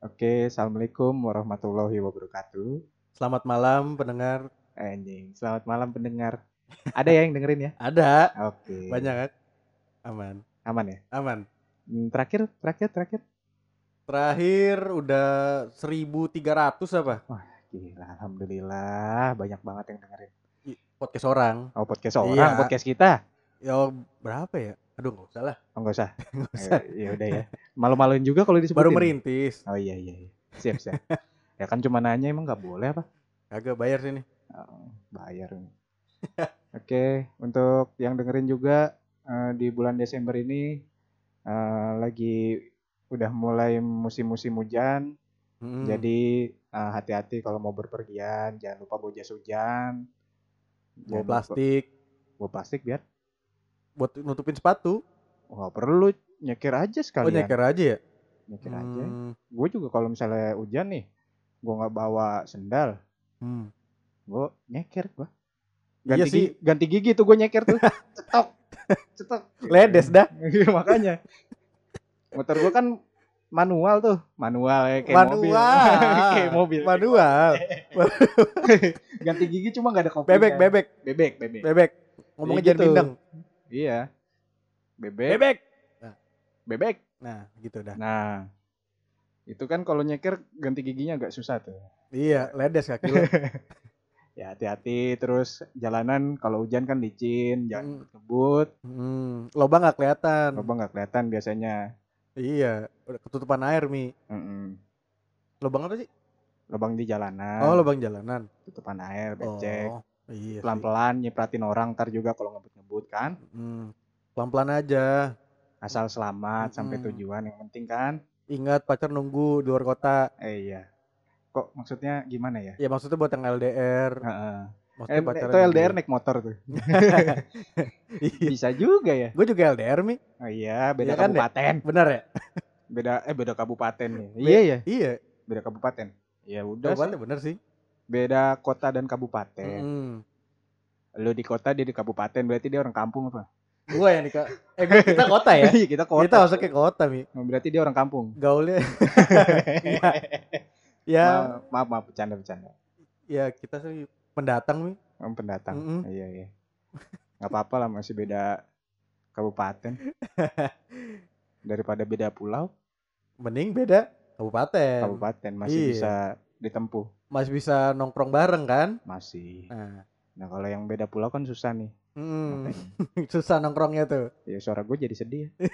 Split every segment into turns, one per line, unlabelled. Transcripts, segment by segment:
Oke, assalamualaikum warahmatullahi wabarakatuh.
Selamat malam pendengar.
Anjing, selamat malam pendengar. Ada ya yang dengerin ya?
Ada
Oke.
banyak kan? Aman,
Aman ya?
aman.
Hmm, Terakhir, terakhir, terakhir.
Terakhir udah 1300 apa?
Gila, alhamdulillah banyak banget yang dengerin.
Podcast orang.
Oh, podcast orang,
Iya.
podcast kita.
Ya berapa ya? Aduh, nggak usah lah.
Oh, enggak usah.
Nggak usah.
Eh, Ya udah ya. Malu-maluin juga kalau disebutin.
Baru merintis.
Oh iya iya. iya. Siap, siap. ya kan cuma nanya emang nggak boleh apa?
Agak bayar sini.
Oh, bayar. Oke, untuk yang dengerin juga eh, di bulan Desember ini eh, lagi udah mulai musim-musim hujan.
Mm.
Jadi eh, hati-hati kalau mau berpergian, jangan lupa bawa jas hujan.
bawa
Jangan lupa-
plastik
Bawa plastik biar
buat nutupin sepatu.
nggak perlu nyekir aja sekalian.
Oh, nyeker aja ya?
Nyekir aja.
Hmm,
Gue juga kalau misalnya hujan nih, gue nggak bawa sendal,
hmm.
gue nyeker gue.
Iya
Ganti,
sih.
gigi, ganti gigi tuh gue nyeker tuh. cetok. Cetok.
Ledes dah.
Iya, makanya. Motor gue kan manual tuh, manual ya, kayak mobil.
Manual.
kayak mobil.
Manual.
Ganti gigi cuma nggak ada kopinya.
Bebek, bebek,
bebek, bebek.
bebek. Ngomongnya
Iya
jangan
gitu.
bindeng.
Iya. Bebek,
Bebek.
bebek.
Nah, gitu dah.
Nah, itu kan kalau nyeker ganti giginya agak susah tuh.
Iya, ledes kaki lu.
Ya hati-hati terus jalanan kalau hujan kan licin, jangan
Hmm.
ngebut.
Hmm, lobang nggak kelihatan.
Apa nggak kelihatan biasanya.
Iya, udah ketutupan air mi.
Mm-mm.
Lobang apa sih?
Lubang di jalanan,
Oh, lobang jalanan.
tutupan air, Ah. becek.
Oh, iya. sih.
Pelan-pelan nyipratin orang ntar juga kalau ngebut-ngebut kan.
Hmm, pelan-pelan aja.
Asal selamat sampai
Mm-mm.
tujuan yang penting kan.
Ingat pacar nunggu di luar kota.
Eh iya. Kok maksudnya gimana ya?
Ya maksudnya buat yang LDR.
Heeh.
Maksudnya
Eh, itu LDR naik motor tuh.
Iya.
Bisa juga ya.
Gue juga LDR mi.
Oh iya, beda
Iya kan, Dek?
kabupaten.
Benar ya?
Beda eh beda kabupaten nih.
Be-
Iya ya,
Iya.
beda kabupaten. Ya udah.
Jawabannya
sih.
benar sih.
Beda kota dan kabupaten.
Mm.
Lu di kota dia di kabupaten, berarti dia orang kampung apa?
Gue yang di ko- eh gua- kita kota ya.
Iya, kita kota.
Kita masuk ke kota mi.
Berarti dia orang kampung.
Gaulnya Iya. ya
Ma- maaf, maaf, bercanda-bercanda.
ya kita sih pendatang mi.
Om pendatang.
Mm-mm.
Iya, iya. Gak apa-apa lah masih beda kabupaten. Daripada beda pulau,
Mending beda kabupaten.
kabupaten masih
Iya.
bisa ditempuh.
Masih bisa nongkrong bareng kan?
Masih.
Nah,
Nah, kalau yang beda pulau kan susah nih.
mm,
Makanya.
susah nongkrongnya tuh.
Ya suara gue jadi sedih ya.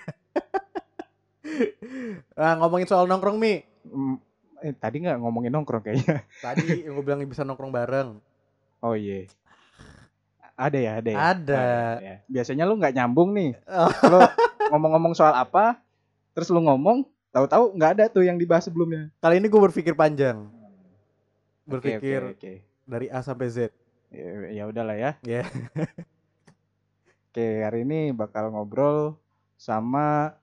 Nah, ngomongin soal nongkrong Mi.
Mm, eh, tadi nggak ngomongin nongkrong kayaknya.
Tadi yang gue bilang bisa nongkrong bareng.
Oh iya. Ada ya, ada ya.
Ada.
ya. Biasanya lu nggak nyambung nih.
Oh.
Lu ngomong-ngomong soal apa, terus lu ngomong, tahu-tahu nggak ada tuh yang dibahas sebelumnya.
Kali ini gue berpikir panjang.
Oke,
Berpikir
Oke, oke.
dari A sampai Z.
Ya, ya udahlah ya.
Ya.
Oke, hari ini bakal ngobrol sama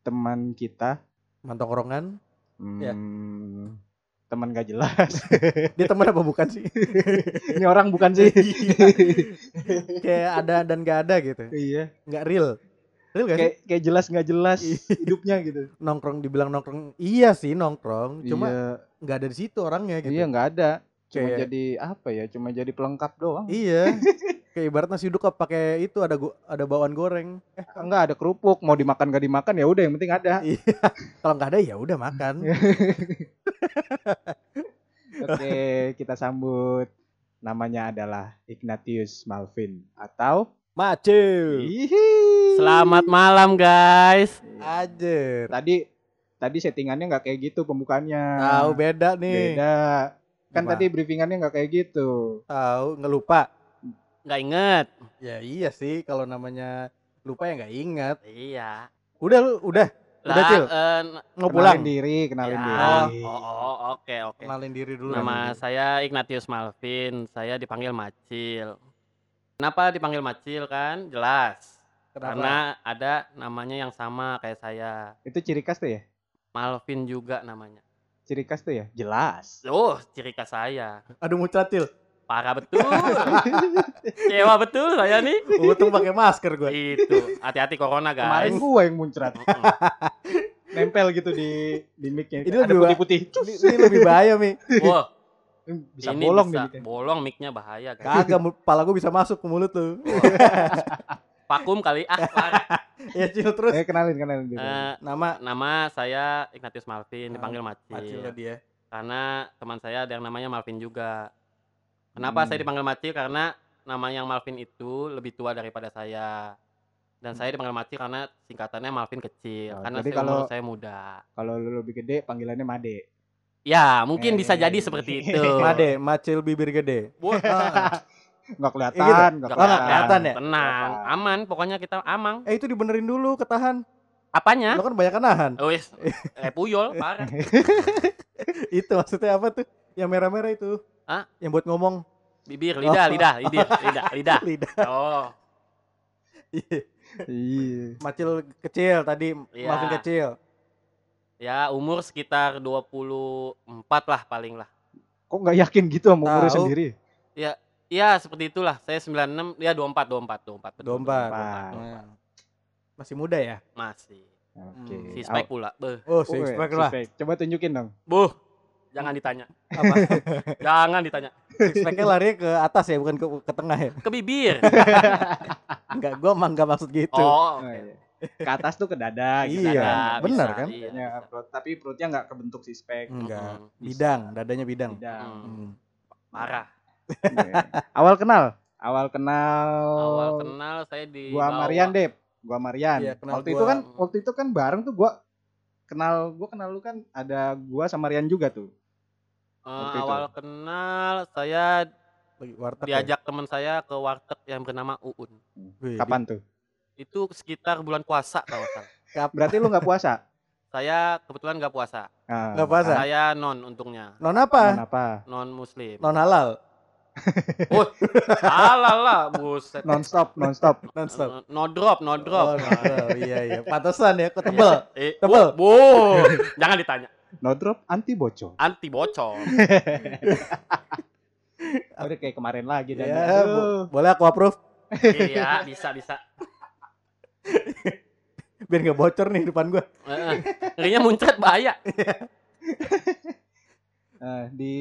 teman kita.
Mantongkrongan.
Hmm,
Ya.
Teman gak jelas.
Dia teman apa bukan sih?
Ini orang bukan sih?
Kayak ada dan gak ada gitu.
iya.
Nggak real. Real gak sih?
kayak kayak jelas nggak jelas
Iya.
hidupnya gitu.
Nongkrong dibilang nongkrong. Iya sih nongkrong. Cuma
iya,
nggak ada di situ orangnya gitu.
iya nggak ada. Cuma
Kayak-
jadi apa ya? Cuma jadi pelengkap doang.
Iya. Kayak ibarat nasi uduk kok pakai itu ada go- ada bawaan goreng.
Enggak ada kerupuk, mau dimakan gak dimakan ya udah yang penting ada.
Iya. Kalau nggak ada ya udah
Iya.
makan.
Oke, kita sambut. Namanya adalah Ignatius Malvin atau Iya.
Macul.
Hihi.
Selamat malam guys.
Iya.
Ajer.
Tadi tadi settingannya nggak kayak gitu pembukaannya.
Tahu beda nih.
Nah, Beda. Kan
Apa?
tadi briefingannya nggak kayak gitu.
Tahu ngelupa.
Nggak inget.
Ya iya sih kalau namanya lupa ya nggak ingat.
Iya.
Udah lu udah Udah,
Lah,
Cil.
eh,
mau Oh, pulang.
Kenalin diri, kenalin
ya.
diri.
Oh, oh, oke oke.
Kenalin diri dulu.
Nama saya Ignatius Malvin. Saya dipanggil Macil. Kenapa dipanggil Macil kan? Jelas. Karena ada namanya yang sama kayak saya.
Itu ciri khas tuh ya?
Malvin juga namanya.
Ciri khas tuh ya? Jelas.
Oh, ciri khas saya.
aduh mucatil.
Parah betul. Cewa betul saya nih.
Untung pakai masker gue.
Itu. Hati-hati corona guys.
Kemarin gua yang muncrat.
Mm-mm.
nempel gitu di di mic-nya.
Ini
Ada
lebih ba-
putih-putih.
ini, ini lebih bahaya mi
Wah,
Bisa
ini
bolong
bisa
nih mic-nya.
bolong mic-nya bahaya. guys.
kagak mul- pala gue bisa masuk ke mulut lu
Vakum kali
Iya.
ah. parah.
ya cil terus
Eh kenalin kenalin dulu.
Eh,
nama
nama saya Ignatius
Ah,
Malvin, dipanggil Macil.
Macil tadi ya
Karena teman saya ada yang namanya Malvin juga. Kenapa
Hmm.
saya dipanggil Macil? Karena nama yang Malvin itu lebih tua daripada saya. Dan saya dipanggil Macil karena singkatannya Malvin
Hmm.
kecil.
Oh,
karena
jadi
saya, umur
kalau-
saya muda.
Kalau lu lebih gede panggilannya Made.
Ya, mungkin
Eh.
bisa jadi seperti itu.
Made Macil bibir gede
Wah,
Ah.
Enggak
Eh, gitu.
kelihatan, enggak
Oh,
nggak
nggak
kelihatan.
kelihatan. ya?
Tenang,
iya,
aman. Pokoknya kita amang.
eh itu dibenerin dulu ketahan
Apanya?
lo kan banyak nahan
Oh, Wis, eh puyol, parah.
itu maksudnya apa tuh yang merah-merah itu
Hah?
yang buat ngomong
Oh.
Bibir, lidah, lidah, lidah, lidah, lidah.
lidah
Oh,
Iya.
Macil kecil tadi
Iya.
Malvin kecil
ya umur sekitar 24 lah paling lah.
Kok enggak yakin gitu sama umurnya
Tahu.
sendiri?
Ya, seperti itulah. Saya 96, ya 24, 24, 24. betul,
24.
Nah.
masih muda ya
Masih.
Oke.
Hmm,
Si
Aw-
Spike pula. Beuh.
Oh,
oh six
eh,
pack
six
lah
pack. Coba tunjukin dong.
Buh,
Hmm.
jangan ditanya.
apa
Jangan ditanya.
six packnya larinya ke atas ya bukan ke, ke tengah ya
Ke bibir.
Enggak, gua emang enggak maksud gitu.
Oh,
Oh,
oke.
iya. Ke atas tuh ke dada gitu.
Iya,
Dada,
Dada.
benar
bisa,
kan?
iya,
Dadanya,
bisa.
perut- tapi perutnya enggak kebentuk si spek.
Enggak.
Mm-mm.
Bisa.
Bidang, dadanya bidang.
Tidak.
Mm,
Hmm.
Parah.
Awal kenal, awal kenal.
Awal kenal saya di
Oh. gua Marian deh, gua Marian.
Iya, kenal
waktu
gua.
itu kan waktu itu kan bareng tuh gua kenal gua kenal lu kan ada gua sama Rian juga tuh. waktu itu.
Eh, awal kenal saya
Lagi warteg.
diajak teman saya ke warteg yang bernama Uun.
ya? Wih,
Kapan tuh?
Itu sekitar bulan puasa kalau nggak salah.
di- kap-
Berarti lu nggak puasa?
Saya kebetulan nggak puasa.
Ah,
Nggak puasa?
Saya non untungnya,
Non apa?
Kenapa?
non muslim.
Non halal.
Alah lah, buset.
Non stop, non stop.
Non stop.
No- No drop,
Oh,
no
non
drop.
halal. iya iya. Pantesan ya, kok tebel.
Eh,
Tebel.
bu, jangan ditanya.
No drop anti bocor.
Anti bocor.
Udah kayak kemarin lagi dan
Ya,
aduh.
bo- boleh aku approve
Iya, bisa bisa.
biar enggak bocor nih depan gua.
Heeh. Ngerinya muncrat bahaya
Eh, di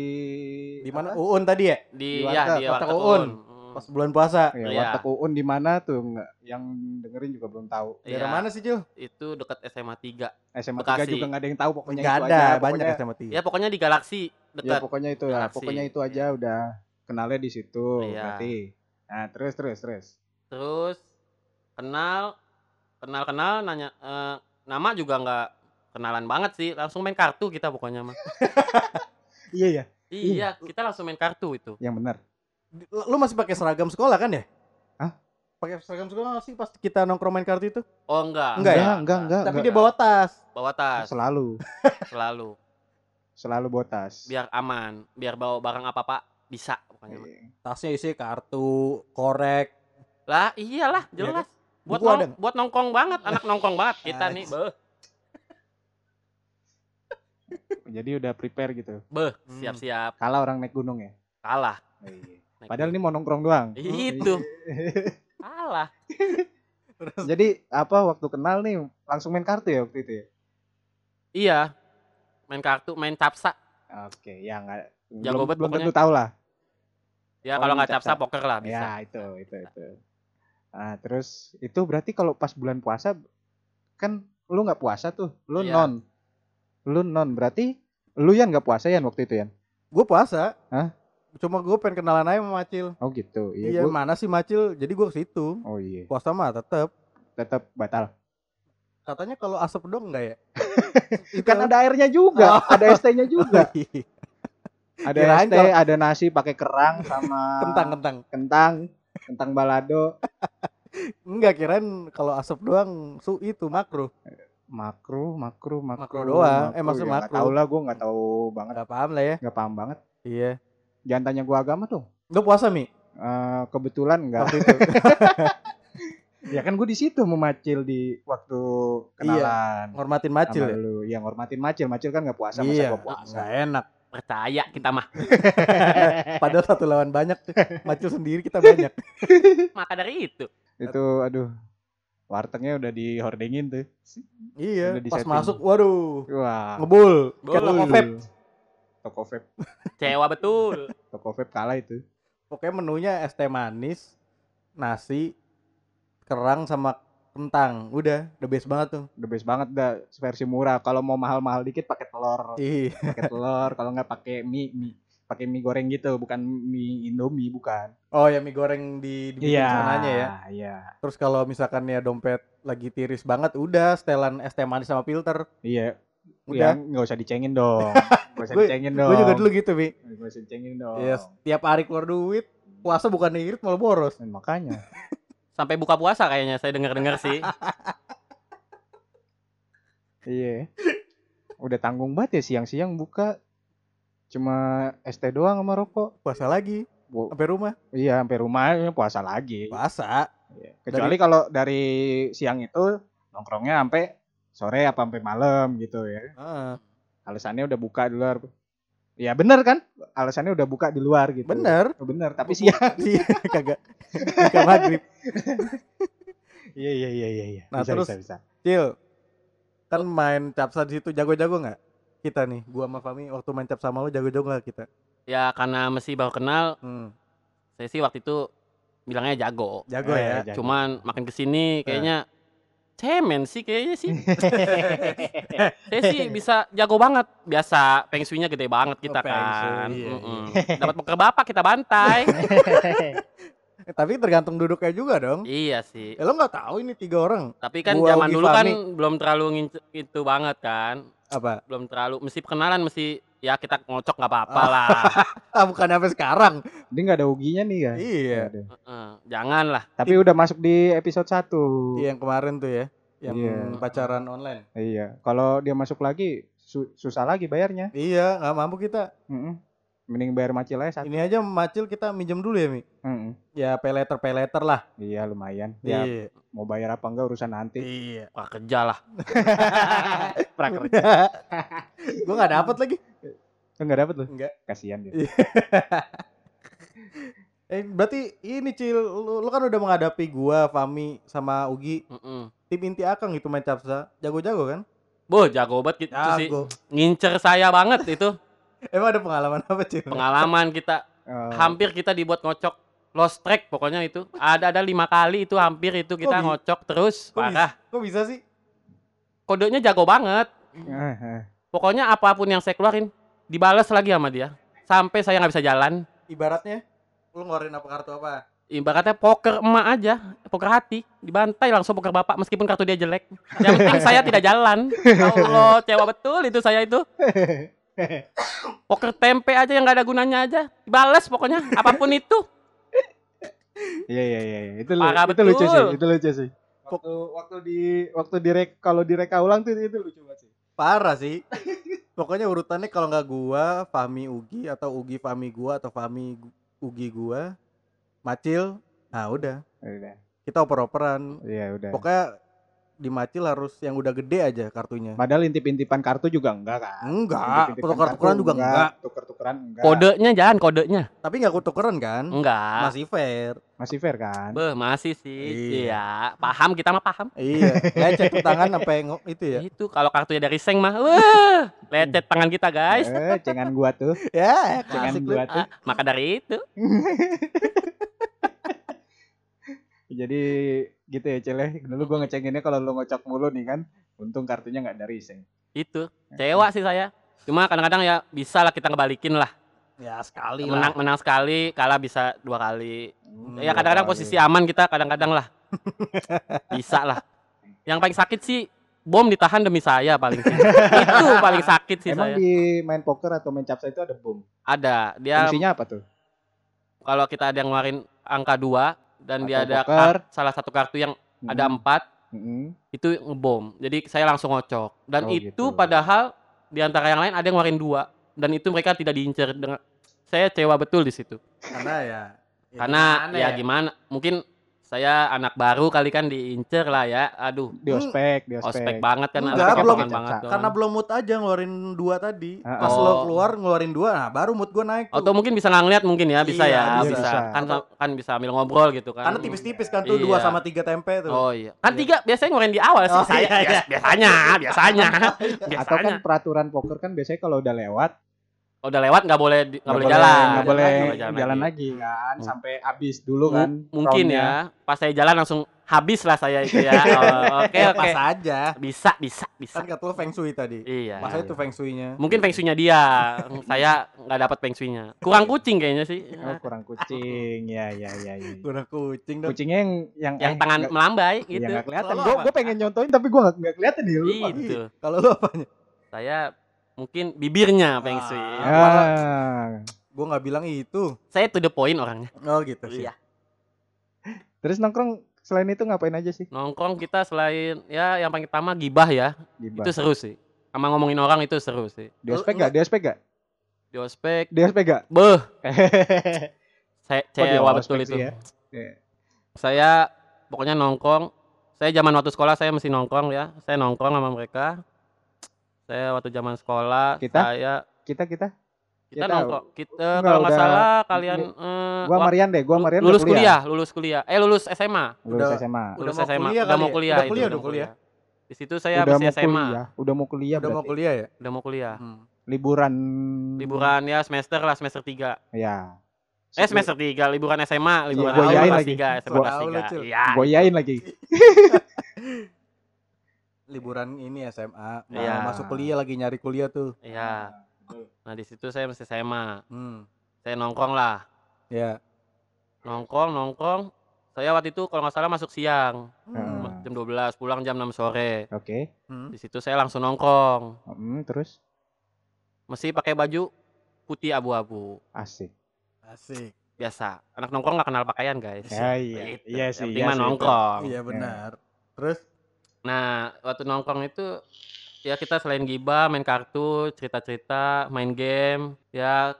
Di
apa?
mana? Uun tadi ya?
di,
Di
ya
warteg,
di
warteg
warteg
Uun.
Uun. Mm.
Pas bulan puasa.
Ya,
Iya.
warteg Uun di mana tuh nggak yang dengerin juga belum tahu.
Daerah
Iya,
mana sih, Cil?
Itu dekat SMA 3.
SMA 3
Bekasi.
juga nggak ada yang tahu pokoknya
Enggak
itu aja.
ada,
Pokoknya-
banyak SMA tiga.
Ya pokoknya di
Iya,
galaksi
Ya
dekat.
pokoknya itu ya,
Bekasi.
pokoknya itu aja udah kenalnya di situ
Iya.
berarti. Nah, terus terus terus.
Terus kenal kenal kenal nanya eh, nama juga nggak kenalan banget sih. Langsung main kartu kita pokoknya mah.
Iya ya,
iya, kita langsung main kartu itu.
yang benar.
Di- Lu masih pakai seragam sekolah kan ya?
Hah?
Pakai seragam sekolah nggak sih pas kita nongkrong main kartu itu?
Oh enggak.
Enggak ya?
Enggak, enggak,
Tapi
enggak.
dia bawa tas.
Bawa tas
Selalu,
selalu
selalu botas. Iya.
biar aman, biar bawa barang apa-apa bisa pokoknya. mah.
Tasnya isi kartu, korek, ya kan?
Lah, iyalah
Iya kan?
jelas. Buat
Buku
nong-
ada
buat nongkong banget, anak nongkong banget kita
Iya.
nih. Beuh,
Jadi udah prepare gitu.
beuh,
Hmm.
siap-siap
Kalah orang naik gunung ya.
kalah. Naik
Padahal Hmm. ini mau nongkrong doang.
itu kalah.
Iya. Jadi apa waktu kenal nih langsung main kartu ya waktu itu ya.
Iya. Main kartu, main capsa.
Oke, ya enggak belum,
Jago banget
belum
pokoknya.
tentu tahu lah.
Ya
Oh,
kalau
main
nggak capsa
capsa.
poker lah bisa.
Ya, itu, itu, itu. Nah, terus itu berarti kalau pas bulan puasa kan lu nggak puasa tuh, lu
Iya.
non. Lu non berarti lu yang nggak puasa Yan waktu itu Yan.
Gue puasa.
Hah?
Cuma gue pengen kenalan aja sama Macil.
Oh gitu. Iya,
Iya,
gua-
mana sih Macil? Jadi gue ke situ.
Oh iya.
Puasa mah tetep.
Tetap batal.
Katanya kalau asap dong enggak ya? itu
Kan ada airnya juga, ada ST-nya juga. Ada
Oh. Kirain
ST,
kalau-
ada nasi pakai kerang sama
kentang kentang.
kentang, kentang balado,
Enggak kirain kalau asap doang su itu makro.
makro, makro, makro,
Makro doang. Eh, maksud
ya, nggak
makro.
Tahu lah gua nggak tahu banget,
Enggak paham lah ya.
nggak paham banget.
Iya.
Jangan tanya gua agama dong.
Lu puasa Mi?
Eh, kebetulan nggak
Waktu itu.
ya kan gue di situ memacil di waktu kenalan
Ngormatin
sama
Iya. Macil ya?
lu yang hormatin macil macil kan nggak puasa masa
iya.
gua puasa
Enggak enak.
Percaya kita mah.
Padahal satu lawan banyak tuh. Macil sendiri kita banyak.
Maka dari itu.
itu aduh wartegnya udah dihordengin tuh.
Iya,
Udah di
pas
setting.
masuk waduh.
Wah.
Ah. Ngebul. Kayak
Ngebul.
toko vape.
Toko vape,
Cewa betul.
toko vape kalah itu.
Pokoknya menunya es teh manis, nasi, kerang sama kentang. Udah, the best banget tuh.
The best banget dah versi murah. Kalau mau mahal-mahal dikit pakai telur,
Ih,
pakai telur. Kalau nggak pakai mie, mie pakai mie goreng gitu, bukan mie Indomie, bukan.
Oh ya mie goreng di di sananya ya.
Iya.
Terus kalau misalkan ya dompet lagi tiris banget, udah setelan es teh manis sama filter.
Iya.
Udah.
Udah nggak usah dicengin dong. Nggak usah
Gua-
dicengin dong.
Gue juga dulu gitu, Bi.
Nggak usah dicengin dong.
Ya, setiap hari keluar duit, puasa bukan irit malah boros.
Dan Eh, makanya.
Sampai buka puasa kayaknya saya dengar-dengar sih.
iya. Udah tanggung banget ya siang-siang buka cuma es teh doang sama rokok.
Puasa lagi,
Bu-
sampai rumah.
iya, sampai rumah ya, puasa lagi.
Puasa.
Iya. Kecuali kalau dari siang itu nongkrongnya sampai sore apa sampai malam gitu ya.
Heeh.
Alasannya udah buka di luar. Ya bener kan? Alasannya udah buka di luar gitu.
Bener.
Bener, tapi siang.
Iya, kagak. Bukan maghrib.
Iya iya iya iya iya.
Nah,
Bisa,
terus-
bisa, bisa.
Cil,
Oh.
kan main capsa di situ jago-jago nggak? Kita nih, gua sama Fami waktu main capsa sama lu jago-jago nggak kita?
Ya karena masih baru kenal,
Hmm,
saya sih waktu itu bilangnya jago.
jago
Eh,
ya.
jago.
Cuman
Eh.
makin kesini kayaknya cemen sih kayaknya sih. Saya sih bisa jago banget. Biasa feng shui-nya gede banget kita
Oh, feng shui,
kan.
iya,
Mm-mm. Dapat poker bapak kita bantai.
Eh, tapi tergantung duduknya juga dong.
iya sih.
Eh, lo nggak tahu ini tiga orang
Tapi kan
Gua,
zaman
Ugi,
dulu kan
Fahmi.
belum terlalu nginc- itu banget kan.
apa?
Belum terlalu mesti perkenalan mesti ya kita ngocok nggak
Oh.
apa-apa lah.
Ah bukan sampai sekarang.
Ini nggak ada uginya nih kan?
iya.
Nggak ada.
Heeh, Jangan lah.
Tapi udah masuk di episode 1.
Iya yang kemarin tuh ya, yang
Iya.
pacaran online.
Iya. Kalau dia masuk lagi su- susah lagi bayarnya.
Iya, nggak mampu kita.
Mm-mm. Mending bayar macil aja satu.
Ini aja macil kita minjem dulu ya mi.
Mm-mm.
Ya pay letter pay letter lah.
Iya lumayan. Ya
Iya.
mau bayar apa enggak urusan nanti.
Iya.
Wah kerja lah.
Prakerja
Gue nggak dapet lagi. Iya.
enggak dapat loh.
Nggak.
Kasihan dia.
Iya. Eh berarti ini cil, lu, lu kan udah menghadapi gua, Fami sama Ugi.
Mm-mm.
Tim inti Akang gitu main capsa, jago-jago kan?
Boh jago banget gitu sih.
Jago.
Ngincer saya banget itu
Emang ada pengalaman apa cil?
pengalaman kita.
Eh,
Hampir kita dibuat ngocok. Lost track pokoknya itu. Ada ada lima kali itu hampir itu kita
bi-
ngocok terus.
kok bisa?
Parah.
Kok bisa sih?
Kodenya jago banget.
eh, eh.
Pokoknya apapun yang saya keluarin dibales lagi sama dia. Sampai saya nggak bisa jalan.
Ibaratnya lu ngeluarin apa kartu apa?
Ibaratnya poker emak aja, poker hati, dibantai langsung poker bapak meskipun kartu dia jelek. Yang penting saya tidak jalan. Ya Allah, cewa betul itu saya itu. Poker tempe aja yang nggak ada gunanya aja, dibales pokoknya apapun itu.
Iya iya iya. iya. Itu lu-
Parah
itu lucu sih.
betul.
Itu lucu sih. Waktu waktu di waktu direk kalau direka ulang tuh itu lucu banget sih.
Parah sih. Pokoknya urutannya kalau nggak gua, Fahmi Ugi atau Ugi Fahmi gua atau Fahmi Gu- Ugi gua, Macil. Nah, udah.
Udah.
Kita oper-operan.
Iya udah.
Pokoknya di Macil harus yang udah gede aja kartunya.
Padahal intip-intipan kartu juga enggak kan?
Enggak,
Intip-intipan
tuker-tukeran
kartu
juga enggak.
Tuker-tukeran enggak.
Kodenya jangan kodenya.
Tapi nggak tukeran kan?
Enggak.
Masih fair.
Masih fair kan?
Beh, masih sih.
Iya.
Iya, paham kita mah paham.
Iya, lecet tuh tangan sampai ngo- itu
Iya.
ya.
Itu kalau kartunya dari seng mah, wah, lecet tangan kita guys.
Eh, cengan gua tuh.
Ya,
Cengan
klasik lu.
gua tuh.
Ah, maka dari itu,
Jadi gitu ya Cile. Dulu gua ngecenginnya kalau lu ngocok mulu nih kan. Untung kartunya nggak dari seng.
itu
Eh.
cewa sih saya. Cuma kadang-kadang ya bisa lah kita ngebalikin lah.
Ya
Iya.
sekali
Menang menang sekali, kalah bisa dua kali.
Hmm,
Ya kadang-kadang posisi aman kita kadang-kadang lah. Bisa lah. Yang paling sakit sih bom ditahan demi saya paling sih. itu paling sakit sih
Emang
saya.
di main poker atau main capsa itu ada boom.
Ada. Dia
Fungsinya apa tuh?
kalau kita ada yang ngeluarin angka dua dan dia
Atau
ada
poker.
kar- salah satu kartu yang ada
Mm,
empat
mm.
itu ngebom. Jadi saya langsung ngocok. Dan
Oh,
itu
gitu.
padahal di antara yang lain ada yang ngeluarin dua dan itu mereka tidak diincer dengan saya cewa betul di situ.
karena ya.
Karena ya gimana? Mungkin Saya anak baru kali kan diincer lah ya. Aduh,
Di ospek, di
ospek
ospek.
banget kan.
Enggak,
anaknya
belum.
potongan banget dong.
Karena belum mood aja ngeluarin dua tadi.
Ah,
Pas
ah.
lo
Oh.
keluar ngeluarin dua, nah baru mood gue naik.
Atau
Tuh.
mungkin bisa nggak ngeliat mungkin ya, bisa
Iya,
ya,
bisa,
bisa.
bisa.
Kan kan bisa sambil ngobrol gitu kan.
Karena tipis-tipis kan tuh dua
Iya.
sama tiga tempe tuh.
Oh iya. Kan tiga biasanya ngoreng di awal sih
Oh, iya,
saya.
iya.
bias- Biasanya, biasanya.
Atau
biasanya.
kan peraturan poker kan biasanya kalau udah lewat
Kalau udah lewat nggak boleh di- nggak boleh jalan.
nggak boleh
Nggak
jalan, lagi. kan
Hmm.
sampai habis dulu
Mu-
kan.
Mungkin
roundnya.
ya, pas saya jalan langsung habis lah saya itu ya.
Iya,
Oh, Oke,
Ya,
oke.
pas aja.
Bisa, bisa, bisa.
Kan kata lo Feng Shui tadi.
Iya.
Pas itu Feng Shui-nya.
Mungkin feng shui-nya dia, saya nggak dapat feng shui-nya. Kurang kucing kayaknya sih.
Oh, kurang kucing. Ya ya ya ya.
Guna kucing dong.
Kucingnya yang yang,
Yang
eh,
tangan
nggak-
melambai
Ya
gitu. Iya.
nggak kelihatan.
Kalau
Gue
apa?
gue pengen nyontoin tapi gue nggak kelihatan nih. Lupa.
Itu.
Kalau lo apanya?
Saya mungkin bibirnya feng shui.
Ah.
Ah.
Gue nggak bilang itu.
Saya to the point orangnya.
Oh gitu sih.
Iya.
Terus nongkrong selain itu ngapain aja sih?
Nongkrong kita selain ya yang paling pertama gibah ya.
Gibah.
Itu seru sih. Sama ngomongin orang itu seru sih.
Di ospek gak? Di ospek gak?
Di ospek,
Di ospek gak?
beh,
Hehehe.
saya
Oh, di
cewa
ospek
betul
sih
itu.
ya.
Saya pokoknya nongkrong. Saya zaman waktu sekolah saya mesti nongkrong ya. Saya nongkrong sama mereka. Saya waktu zaman sekolah
Kita?
saya
Kita kita. Kita-
kita nongkrong kita
Enggak,
kalau nggak
udah-
salah kalian eh,
Gua
wak-
Marian deh, gua
lu-
Marian udah
lulus kuliah. lulus kuliah eh lulus SMA
Lulus
Udah-
SMA.
Udah
lulus
mau
SMA
kuliah
udah
kali
mau
ya?
kuliah
Udah kuliah,
itu, udah
udah kuliah.
kuliah. di situ saya
udah
habis
mau
SMA
kuliah, udah mau kuliah
Udah mau
berarti.
kuliah ya?
udah mau kuliah
Hmm.
liburan.
liburan ya semester lah semester 3
Ya.
eh semester 3 liburan SMA liburan
Iya, gua
awal
yain
kelas
lagi.
3 SMA
Gua-
kelas
Tahu lu, Cil.
3 iya
Goyain lagi.
Liburan ini SMA. Nah,
Iya.
Masuk kuliah lagi nyari kuliah tuh.
iya nah di situ saya masih SMA
Hmm.
saya nongkrong lah
Ya.
nongkrong nongkrong saya waktu itu kalau nggak salah masuk siang
Hmm.
jam 12 pulang jam 6 sore
Oke.
Hmm.
di situ saya langsung nongkrong
Hmm, terus
mesti pakai baju putih abu-abu
asik.
Asik.
biasa anak nongkrong nggak kenal pakaian guys
Ya, iya.
Gitu.
Iya
Yang
sih.
penting
iya
mah
sih.
nongkrong
Iya benar. Terus
nah waktu nongkrong itu ya kita selain gibah main kartu cerita cerita main game ya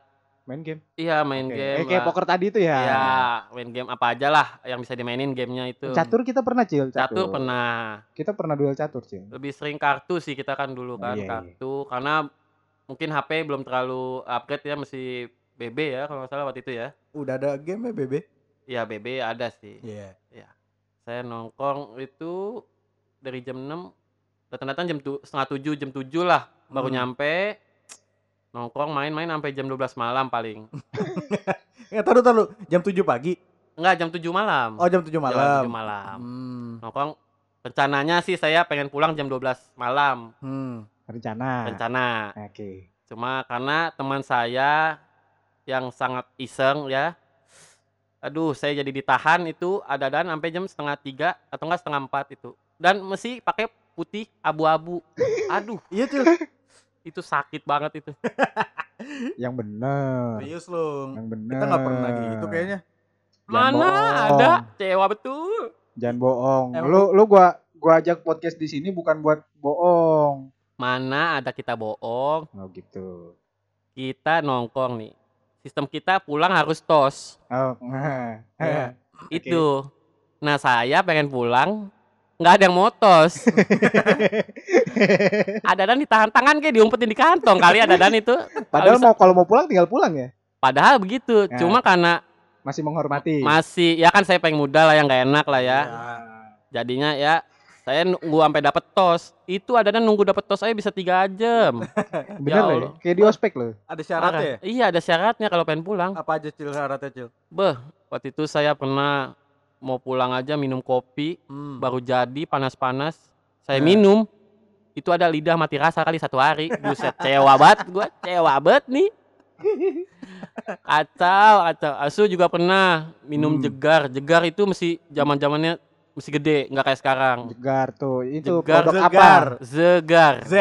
Main game.
iya main
Oke.
game
Eh, kayak
lah.
poker tadi tuh ya.
Iya, main game apa aja lah yang bisa dimainin gamenya itu
Catur kita pernah, Cil.
Catur pernah
Kita pernah duel catur, Cil.
lebih sering kartu sih kita kan
Oh,
dulu kan
Iya, iya.
kartu karena mungkin HP belum terlalu upgrade ya masih BB ya kalau nggak salah waktu itu ya
udah ada game ya, Bebe?
Iya BB ada sih
Iya.
saya nongkrong itu dari jam 6 datang-datang jam tu, setengah 7 jam 7 lah baru
Hmm.
nyampe nongkrong main-main sampai jam 12 malam paling
Ya, taruh taruh jam 7 pagi.
enggak jam 7 malam
Oh, jam 7
Jalan
malam.
7 malam
Hmm.
nongkrong rencananya sih saya pengen pulang jam 12 malam
Hmm.
Rencana.
rencana
Oke.
cuma karena teman saya yang sangat iseng ya aduh saya jadi ditahan itu ada dan sampai jam setengah tiga atau enggak setengah empat itu dan mesti pakai putih abu-abu aduh
Iya, Cil.
itu sakit banget itu
Yang bener.
Serius lu.
Yang bener.
Iya, Kita nggak pernah gitu kayaknya.
Jangan
mana
bohong.
ada cewa betul
Jangan bohong.
Emang-
Lu lu gua gua ajak podcast di sini bukan buat bohong.
mana ada kita bohong
Oh gitu.
kita nongkrong nih sistem kita pulang harus tos
Oh. nah.
Iya.
Oke.
itu nah saya pengen pulang nggak ada yang mau tos ada dan ditahan tangan kayak diumpetin di kantong kali ya, ada dan itu
Padahal
Kalau
mau kalau mau pulang tinggal pulang ya.
padahal begitu
Ya.
cuma karena
Masih menghormati.
masih ya kan saya pengen muda lah yang nggak enak lah ya
Iya.
Ah,
jadinya ya saya nunggu sampai dapet tos itu ada dan nunggu dapet tos saya bisa tiga jam
Bener
Ya
loh. ya.
Allah.
Kayak di ospek loh.
Ada syaratnya ya?
Parah. Iya ada syaratnya kalau pengen pulang.
Apa aja Cil syaratnya, Cil?
Beh, waktu itu saya pernah mau pulang aja minum kopi,
Hmm.
baru jadi panas-panas.
Ya.
Saya
Eh.
minum, itu ada lidah mati rasa kali satu hari. Buset, cewa banget, gue cewa banget nih. Kacau, kacau. Asu ah, juga pernah minum
Hmm.
jegar. Jegar itu mesti zaman zamannya mesti gede, nggak kayak sekarang.
Jegar tuh. Itu
Jegar,
produk
jegar.
apa?
Zegar,
Z.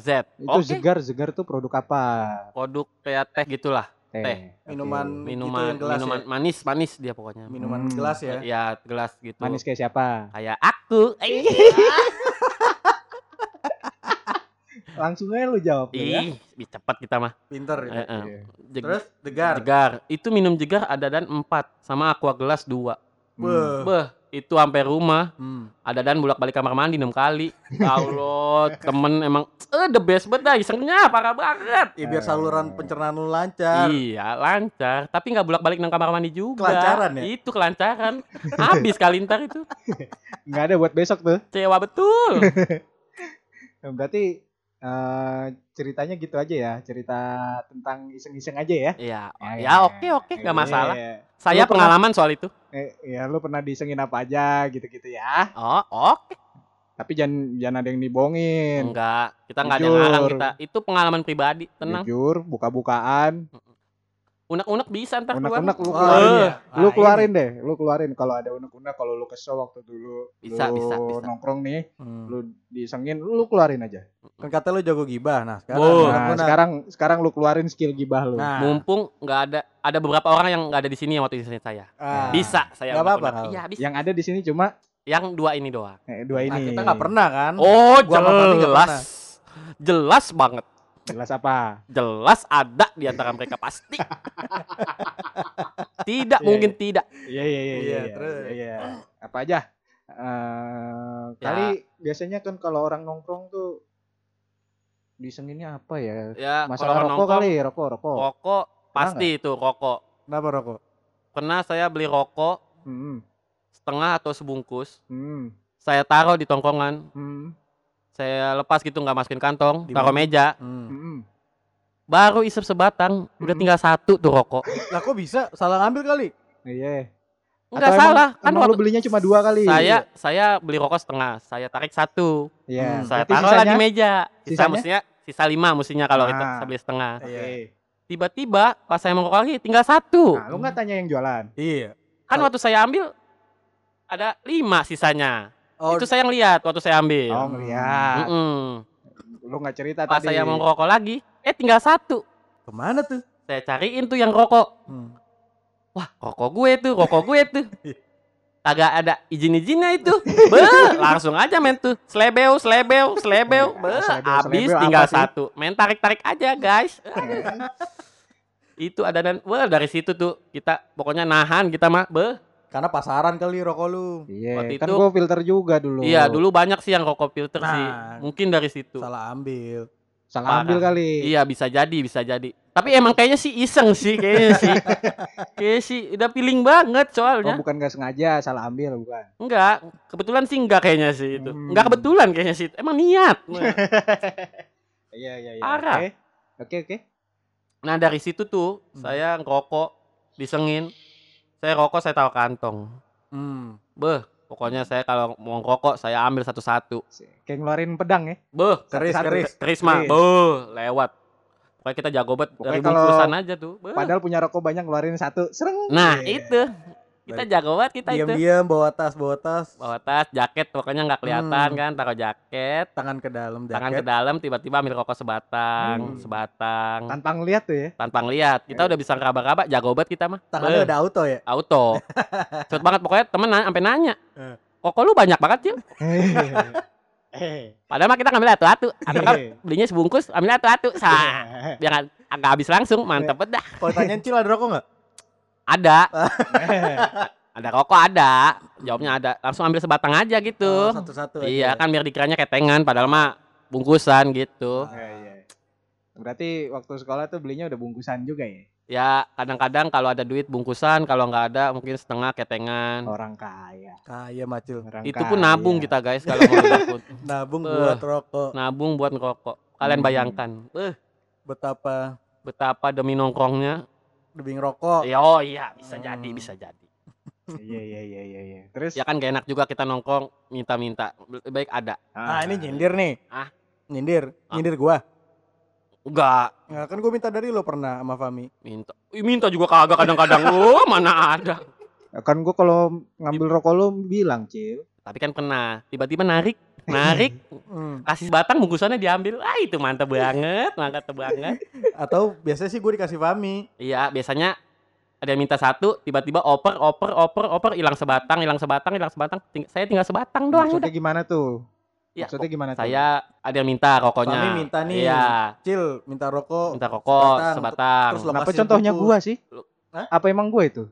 Z.
Itu
Oke,
jegar jegar tuh produk apa?
produk kayak teh gitulah, Teh.
oke.
Minuman
minuman,
gitu yang gelas
minuman
ya?
manis, manis dia pokoknya.
Minuman
Hmm.
gelas ya.
Ya, gelas gitu.
manis Iya. kayak siapa?
kayak aku. Ih,
Langsung aja lu jawab lu ya.
Ih, lebih cepat kita mah.
Pinter ya.
Eh, eh.
Iya.
Jeg-
Terus degar.
Jegar. Itu minum jegar ada dan 4 sama aqua gelas 2.
Hmm.
Beuh.
Beh, itu sampai rumah
Hmm.
ada dan bolak balik kamar mandi enam kali Ya Allah temen emang eh the best banget dah isengnya parah banget
Ya, biar saluran pencernaan lu lancar.
Iya lancar, tapi nggak bolak balik nang kamar mandi juga.
Kelancaran ya?
Itu kelancaran. Habis kali ntar itu
Nggak ada buat besok tuh.
cewa betul.
Berarti eh, ceritanya gitu aja ya, cerita tentang iseng-iseng aja ya.
Iya,
Ya,
ya
ya.
oke oke nggak masalah.
Iya.
Saya
Lu pernah-
pengalaman soal itu.
Eh, ya lu pernah disengin apa aja gitu-gitu ya.
Oh oke,
Tapi jangan jangan ada yang dibohongin.
enggak kita nggak ada yang larang
Iya. Jujur. Iya.
kita. Itu pengalaman pribadi, tenang.
Jujur, buka-bukaan,
Unek-unek bisa ntar keluar.
unek-unek lu
Wah,
keluarin
iya.
ya. Lu
Wah, ini.
keluarin deh, lu keluarin kalau ada unek-unek, kalau lu kesel waktu dulu
Bisa,
lu
bisa, bisa.
nongkrong nih,
Hmm.
lu disengin, lu keluarin aja.
Kan kata lu jago gibah. Nah, sekarang
Wow.
unek-unek.
Nah, sekarang sekarang lu keluarin skill gibah lu.
Nah,
Mumpung nggak ada, ada beberapa orang yang nggak ada di sini yang waktu disini saya.
ah.
Bisa saya.
Nggak apa-apa,
unek-unek.
Kak.
Iya bisa.
Yang ada di sini cuma
Yang dua ini doang.
eh, dua
Nah,
ini.
kita nggak pernah kan?
Hmm.
Oh
Gua sama Fahmi nggak
jelas, jelas banget.
Jelas apa?
jelas ada di antara mereka pasti. tidak
Iya,
mungkin tidak.
Iya iya iya
Iya,
iya.
terus.
iya, iya. Apa aja? Eh,
Ya.
kali biasanya kan kalau orang nongkrong tuh disenginnya apa ya?
Ya,
Masalah
kalau
rokok
nongkrong, oh.
kali, rokok, rokok.
Rokok pasti itu rokok.
Kenapa rokok?
Pernah saya beli rokok
Hmm,
setengah atau sebungkus,
hmm,
saya taruh di tongkongan,
hmm,
saya lepas gitu nggak masukin kantong,
Di
taruh
mana?
meja,
Hmm.
hmm.
baru isep sebatang, udah
Mm-mm.
tinggal satu tuh rokok.
Lah kok bisa? Salah ngambil kali?
Iya.
Enggak
Atau emang-
salah, kan
emang lu
waktu
belinya cuma dua kali?
saya saya beli rokok setengah, saya tarik satu,
Iya.
Hmm,
saya
berarti
taruh lagi
sisanya-
meja. Sisa
sisanya?
mestinya sisa lima mestinya kalau kita
Ah.
saya beli setengah.
Oke.
Iya. Tiba-tiba pas saya mau rokok lagi tinggal satu.
Nah, lu nggak tanya yang jualan?
Iya.
Kan waktu saya ambil ada lima sisanya.
Oh,
Itu saya ngeliat waktu saya
Oh,
ambil.
ngeliat.
Iya. Mm-mm.
Lu nggak cerita
Pas
tadi.
saya mau ngerokok lagi, eh tinggal satu.
kemana tuh?
Saya cariin tuh yang rokok.
Hmm.
Wah, rokok gue tuh, rokok gue tuh. Kagak ada izin-izinnya itu. Beuh, langsung aja men tuh. Slebeu, slebeu, slebeu. Beuh,
Slebeu,
habis
slebeu
tinggal
apa sih?
satu. Men tarik-tarik aja, guys.
Iya.
Itu ada dan wah dari situ tuh kita pokoknya nahan kita mah. Beuh,
Karena pasaran kali rokok lu.
Iya,
Waktu
kan
itu-
gua filter juga dulu.
Iya, dulu banyak sih yang rokok filter
Nah,
sih. Mungkin dari situ.
Salah ambil.
Salah ambil
parah.
kali.
Iya, bisa jadi, bisa jadi. Tapi emang kayaknya sih iseng sih kayaknya sih. Kayaknya sih udah feeling banget
Oh,
soalnya.
bukan nggak sengaja, salah ambil bukan.
Enggak, kebetulan sih enggak kayaknya sih itu.
Hmm.
Enggak kebetulan kayaknya sih. Emang niat.
Iya, iya, iya.
Parah.
Oke. Oke, oke.
Nah, dari situ tuh
Hmm.
saya ngerokok disengin. Saya rokok saya taruh kantong.
Hmm.
Beh, pokoknya saya kalau mau ngerokok saya ambil satu-satu.
Kayak ngeluarin pedang ya.
Beh,
Keris,
Satu-satu.
keris.
Krisma,
Keris.
beuh, lewat. Pokoknya kita jago banget dari
Pokoknya kalau-
bungkusan aja tuh. Beuh.
Padahal punya rokok banyak ngeluarin satu. Sereng.
Nah,
Iya.
itu. Kita jago banget kita itu.
Diam-diam bawa tas, bawa tas.
Bawa tas, jaket pokoknya nggak kelihatan
Hmm.
kan, taruh jaket,
tangan ke dalam
tangan
jaket.
ke dalam tiba-tiba ambil rokok
Hmm.
sebatang, sebatang.
Tanpa ngeliat tuh ya.
Tanpa lihat, kita udah bisa ngeraba-raba, jago banget kita mah.
Tangannya
Beuh,
ada auto ya?
auto. Cepet banget pokoknya temen na- sampai nanya.
Iya.
Eh.
Kok lu banyak banget, Cil?
Eh,
Padahal mah kita ngambil satu-satu. Atau
Iya.
kan belinya sebungkus, ambil satu-satu. Sah. Biar ag- agak habis langsung,
Iya.
mantep banget dah.
Kalau tanyain Cil ada rokok nggak?
Ada, ada rokok ada. Jawabnya ada. Langsung ambil sebatang aja
Oh,
gitu.
Satu-satu aja. ya.
Iya kan biar dikiranya ketengan padahal mah bungkusan gitu.
Iya, iya. Berarti waktu sekolah tuh belinya udah bungkusan juga ya.
Ya kadang-kadang kalau ada duit bungkusan, kalau nggak ada mungkin setengah ketengan.
Orang kaya.
Kaya macil.
Orang
Hmm. Itu pun
kaya.
nabung kita guys kalau mau nabung.
Nabung
Eh.
buat rokok.
nabung buat ngerokok. Kalian
Hmm.
bayangkan, eh
Betapa
betapa demi nongkrongnya.
debing rokok.
Ya, oh iya bisa
Hmm.
jadi, bisa jadi.
Iya, iya, iya, iya, iya. Terus
Ya kan gak enak juga kita nongkrong minta-minta. Lebih Baik ada.
Ah, ini nyindir nih.
Ah.
Nyindir,
Ah.
nyindir gua.
Enggak,
Nah, kan gua minta dari lo pernah sama Fami.
minta. Ih, minta juga kagak kadang-kadang. Oh, mana ada.
Kan gua kalau ngambil rokok lu bilang, Cil.
Tapi kan pernah tiba-tiba narik, narik
Hmm.
kasih batang bungkusannya diambil ah itu mantep banget mantep banget
Atau biasanya sih gua dikasih Fami.
iya biasanya ada yang minta satu tiba-tiba oper oper oper oper hilang sebatang hilang sebatang hilang sebatang Ting- saya tinggal sebatang doang
Maksudnya
udah
gimana tuh?
Iya,
Maksudnya gimana tuh?
saya ada yang minta rokoknya
Fahmi minta nih.
iya
Cil minta rokok.
minta rokok
sebatang,
sebatang
terus lo-
Kenapa
lepasin
contohnya
buku.
gua sih?
Lu-
Hah?
Apa emang gua itu?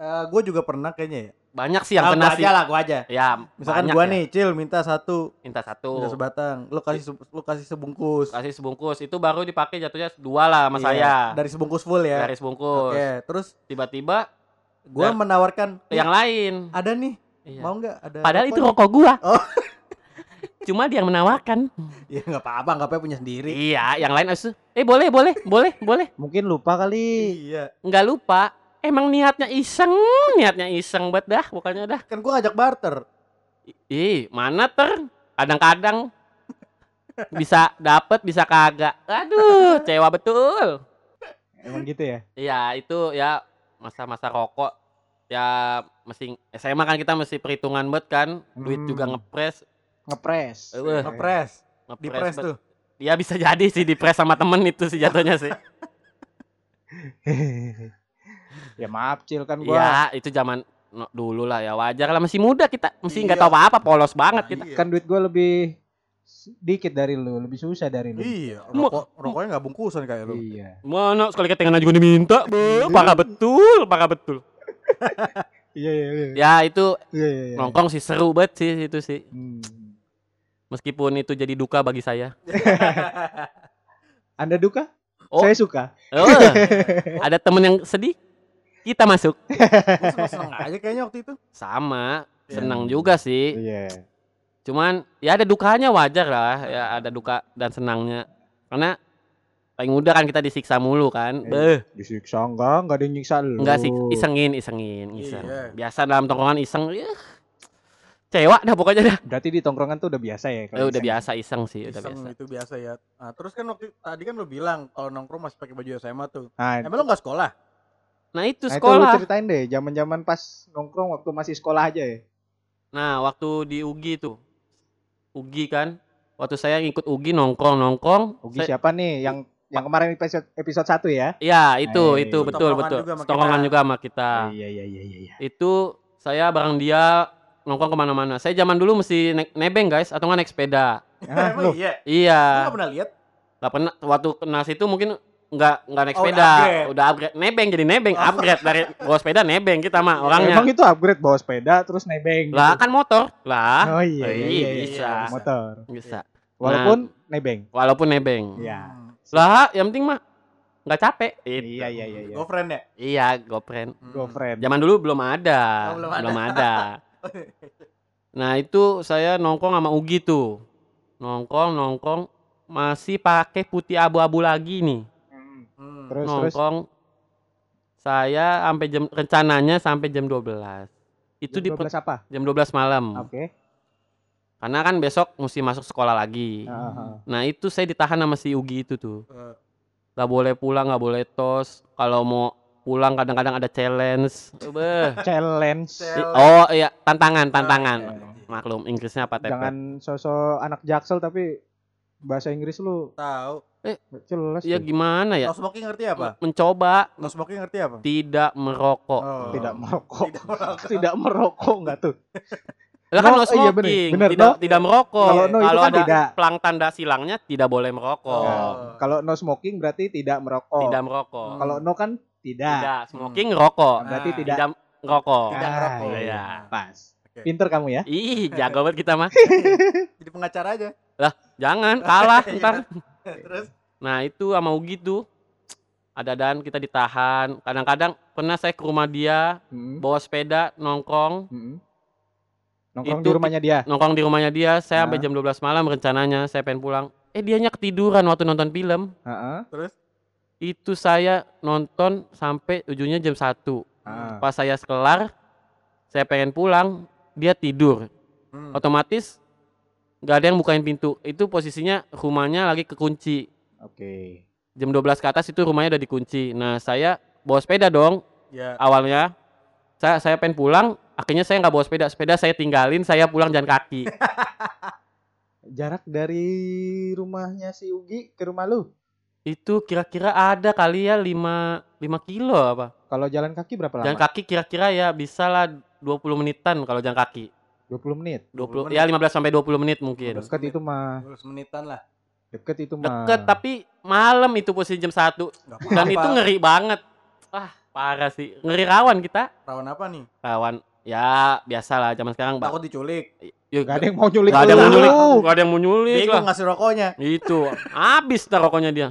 Eh, gua juga pernah kayaknya ya.
banyak sih yang
Ah,
kena
gua
sih
aja lah, gua aja.
ya
Misalkan
banyak
gua
ya.
nih, Cil minta satu,
minta satu
minta sebatang. Lu kasih se- lu kasih sebungkus.
kasih sebungkus itu baru dipakai jatuhnya dua lah
Iya,
sama saya
Dari sebungkus full ya. Oke,
dari
Iya.
sebungkus
terus
tiba-tiba
gua
Dar-
menawarkan
ke yang lain
ada nih,
Iya.
mau nggak ada?
padahal
rokok
itu rokok gua
Eh, Oh.
cuma dia yang menawarkan
nih? Ya nggak apa-apa, nggak apa-apa punya sendiri.
iya yang lain harus eh boleh boleh boleh boleh
Mungkin lupa kali.
Iya.
nggak lupa emang niatnya iseng niatnya iseng buat dah bukannya dah
Kan gua ngajak barter.
ih mana ter kadang-kadang bisa dapet bisa kagak aduh cewa betul
Emang gitu ya?
Iya itu ya masa-masa rokok ya mesti SMA kan kita mesti perhitungan banget kan duit
Hmm.
juga ngepres
Ngepres.
Eh,
Ngepres, di press
bet.
tuh.
ya bisa jadi sih dipres sama temen itu sih jatuhnya sih
ya maaf Cil kan gua
Iya itu zaman no- dulu lah ya wajar lah masih muda kita mesti nggak
Iya.
tahu apa-apa polos banget kita
Iya.
kan duit gua lebih dikit dari lu, lebih susah dari lu.
Iya,
Mo-
rokok rokoknya nggak bungkusan kayak lu.
Iya.
mana sekali ketengan juga diminta be parah betul parah betul
Iya iya iya.
ya itu
Iya iya. iya.
nongkrong sih seru banget sih itu sih
Hmm.
meskipun itu jadi duka bagi saya
Anda duka?
Oh.
Saya suka.
oh, ada temen yang sedih kita masuk
Gua seneng-seneng aja kayaknya waktu itu.
sama
Iya.
senang juga sih
Iya.
cuman ya ada dukanya wajar lah ya ada duka dan senangnya karena paling muda kan kita disiksa mulu kan beh
Iya. Disiksa enggak? Enggak ada yang nyiksa lu.
enggak sih isengin isengin iseng
Iya.
biasa dalam tongkrongan iseng ya cewa dah pokoknya dah
Berarti di tongkrongan tuh udah biasa ya
Eh, udah
iseng.
biasa iseng sih udah
Iseng
biasa
itu biasa ya. Nah, terus kan waktu tadi kan lu bilang kalau nongkrong masih pakai baju SMA tuh.
Nah,
Emang lu nggak sekolah?
nah
nah, itu
itu
lu
sekolah
ceritain deh, zaman-zaman pas nongkrong waktu masih sekolah aja ya.
nah waktu di UGI tuh UGI kan waktu saya ngikut UGI nongkrong nongkrong
Ugi siapa nih yang yang kemarin episode episode 1 ya?
ya itu
Eh,
itu
itu
betul
tongkrongan
betul
juga sama
tongkrongan
kita.
juga sama kita
Iya iya iya iya iya.
itu saya bareng dia nongkrong kemana-mana. Saya zaman dulu mesti naik- nebeng guys atau nggak naik sepeda.
Ah,
Emang
lu
iya. Lu
Iya,
nggak pernah lihat?
nggak pernah. Waktu kenal situ mungkin nggak nggak naik
Oh, udah
sepeda,
upgrade.
udah upgrade nebeng jadi nebeng
Oh. Iya.
upgrade dari bawa sepeda nebeng kita mah orangnya.
Emang itu upgrade bawa sepeda terus
gitu?
nebeng. gitu?
Lah kan motor lah
Oh iya, iya,
Iya, Nah,
iya,
bisa.
iya,
Oh.
motor.
bisa.
Walaupun nebeng.
Walaupun nebeng.
Iya.
Hmm.
Lah yang penting mah nggak capek. Itu.
Iya iya iya iya.
Girlfriend ya?
Iya, GoPren.
Girlfriend.
Zaman dulu belum ada,
Oh, belum ada.
ada. Nah itu saya nongkrong sama Ugi tuh Nongkrong nongkrong Masih pakai putih abu-abu lagi nih
Hmm.
Hmm.
Terus terus
Nongkrong Saya sampai jam rencananya sampai jam 12 Itu
Jam
di Hmm.
12 apa?
jam 12 malam
Oke.
Karena kan besok mesti masuk sekolah lagi
Ah, ah, ah.
Nah itu saya ditahan sama si Ugi itu tuh
Eh,
Gak boleh pulang gak boleh tos Kalau mau pulang kadang-kadang ada challenge Beuh.
Challenge.
Challenge.
Oh iya tantangan tantangan
Ah, iya.
Maklum Inggrisnya apa tepet
Jangan sosok anak jaksel tapi bahasa Inggris lu
Tahu.
jelas.
Ya
tuh.
gimana ya
No smoking ngerti apa?
Mencoba
No smoking ngerti apa?
tidak merokok.
Oh.
Tidak merokok.
Tidak merokok.
Tidak merokok enggak tuh?
Lah kan
No, oh
no
iya, bener,
smoking,
bener,
tidak
no.
tidak merokok.
Kalau no itu
Kalau
kan
ada
tidak.
pelang tanda silangnya tidak boleh merokok.
Oh.
Nah, Kalau no smoking berarti tidak merokok.
Tidak merokok.
Hmm.
Kalau no kan tidak.
Tidak Ah, smoking rokok.
Berarti
Nah.
tidak.
Tidak merokok.
Tidak.
Tidak merokok.
Ah, iya.
Pas.
Oke.
Pinter kamu ya.
Ih, jago banget kita mah.
Jadi pengacara aja.
Jangan kalah
Iya.
ntar.
Terus
Nah, itu sama Ugi tuh ada-adaan kita ditahan. Kadang-kadang pernah saya ke rumah dia
Hmm.
bawa sepeda nongkrong,
Mm-mm. Nongkrong
Itu
di rumahnya dia.
nongkrong di rumahnya dia. Saya sampai
Ah.
jam 12 malam rencananya saya pengen pulang. Eh, dianya ketiduran waktu nonton film.
Heeh.
terus
itu saya nonton sampai ujungnya jam 1
Ah.
pas saya sekelar saya pengen pulang dia tidur
Hmm.
otomatis nggak ada yang bukain pintu itu posisinya rumahnya lagi kekunci
Oke.
jam 12 ke atas itu rumahnya udah dikunci nah saya bawa sepeda dong
ya
awalnya saya saya pengen pulang akhirnya saya nggak bawa sepeda sepeda saya tinggalin saya pulang jalan kaki
Jarak dari rumahnya si Ugi ke rumah lu.
itu kira-kira ada kali ya 5 5 kilo apa
Kalau jalan kaki berapa
jalan
lama?
kaki kira-kira ya bisa lah 20 menitan kalau jalan kaki
20 menit.
20
20 ya 15 sampai 20 Iya, menit mungkin.
Terus
Deket
menit.
itu
Ah.
mah.
10 menitan lah.
Deket itu mah.
Deket tapi malam itu posisi jam 1
Enggak
dan itu ngeri banget. Wah, parah sih. Ngeri rawan kita.
rawan apa nih?
Rawan Ya biasalah zaman sekarang bak.
Takut diculik.
Ya,
Gak ada yang mau nyulik
nggak ada
lu.
yang mau nyulik. Gak ada yang mau nyulik lah.
Bingung ngasih rokoknya.
Itu habis tar rokoknya dia.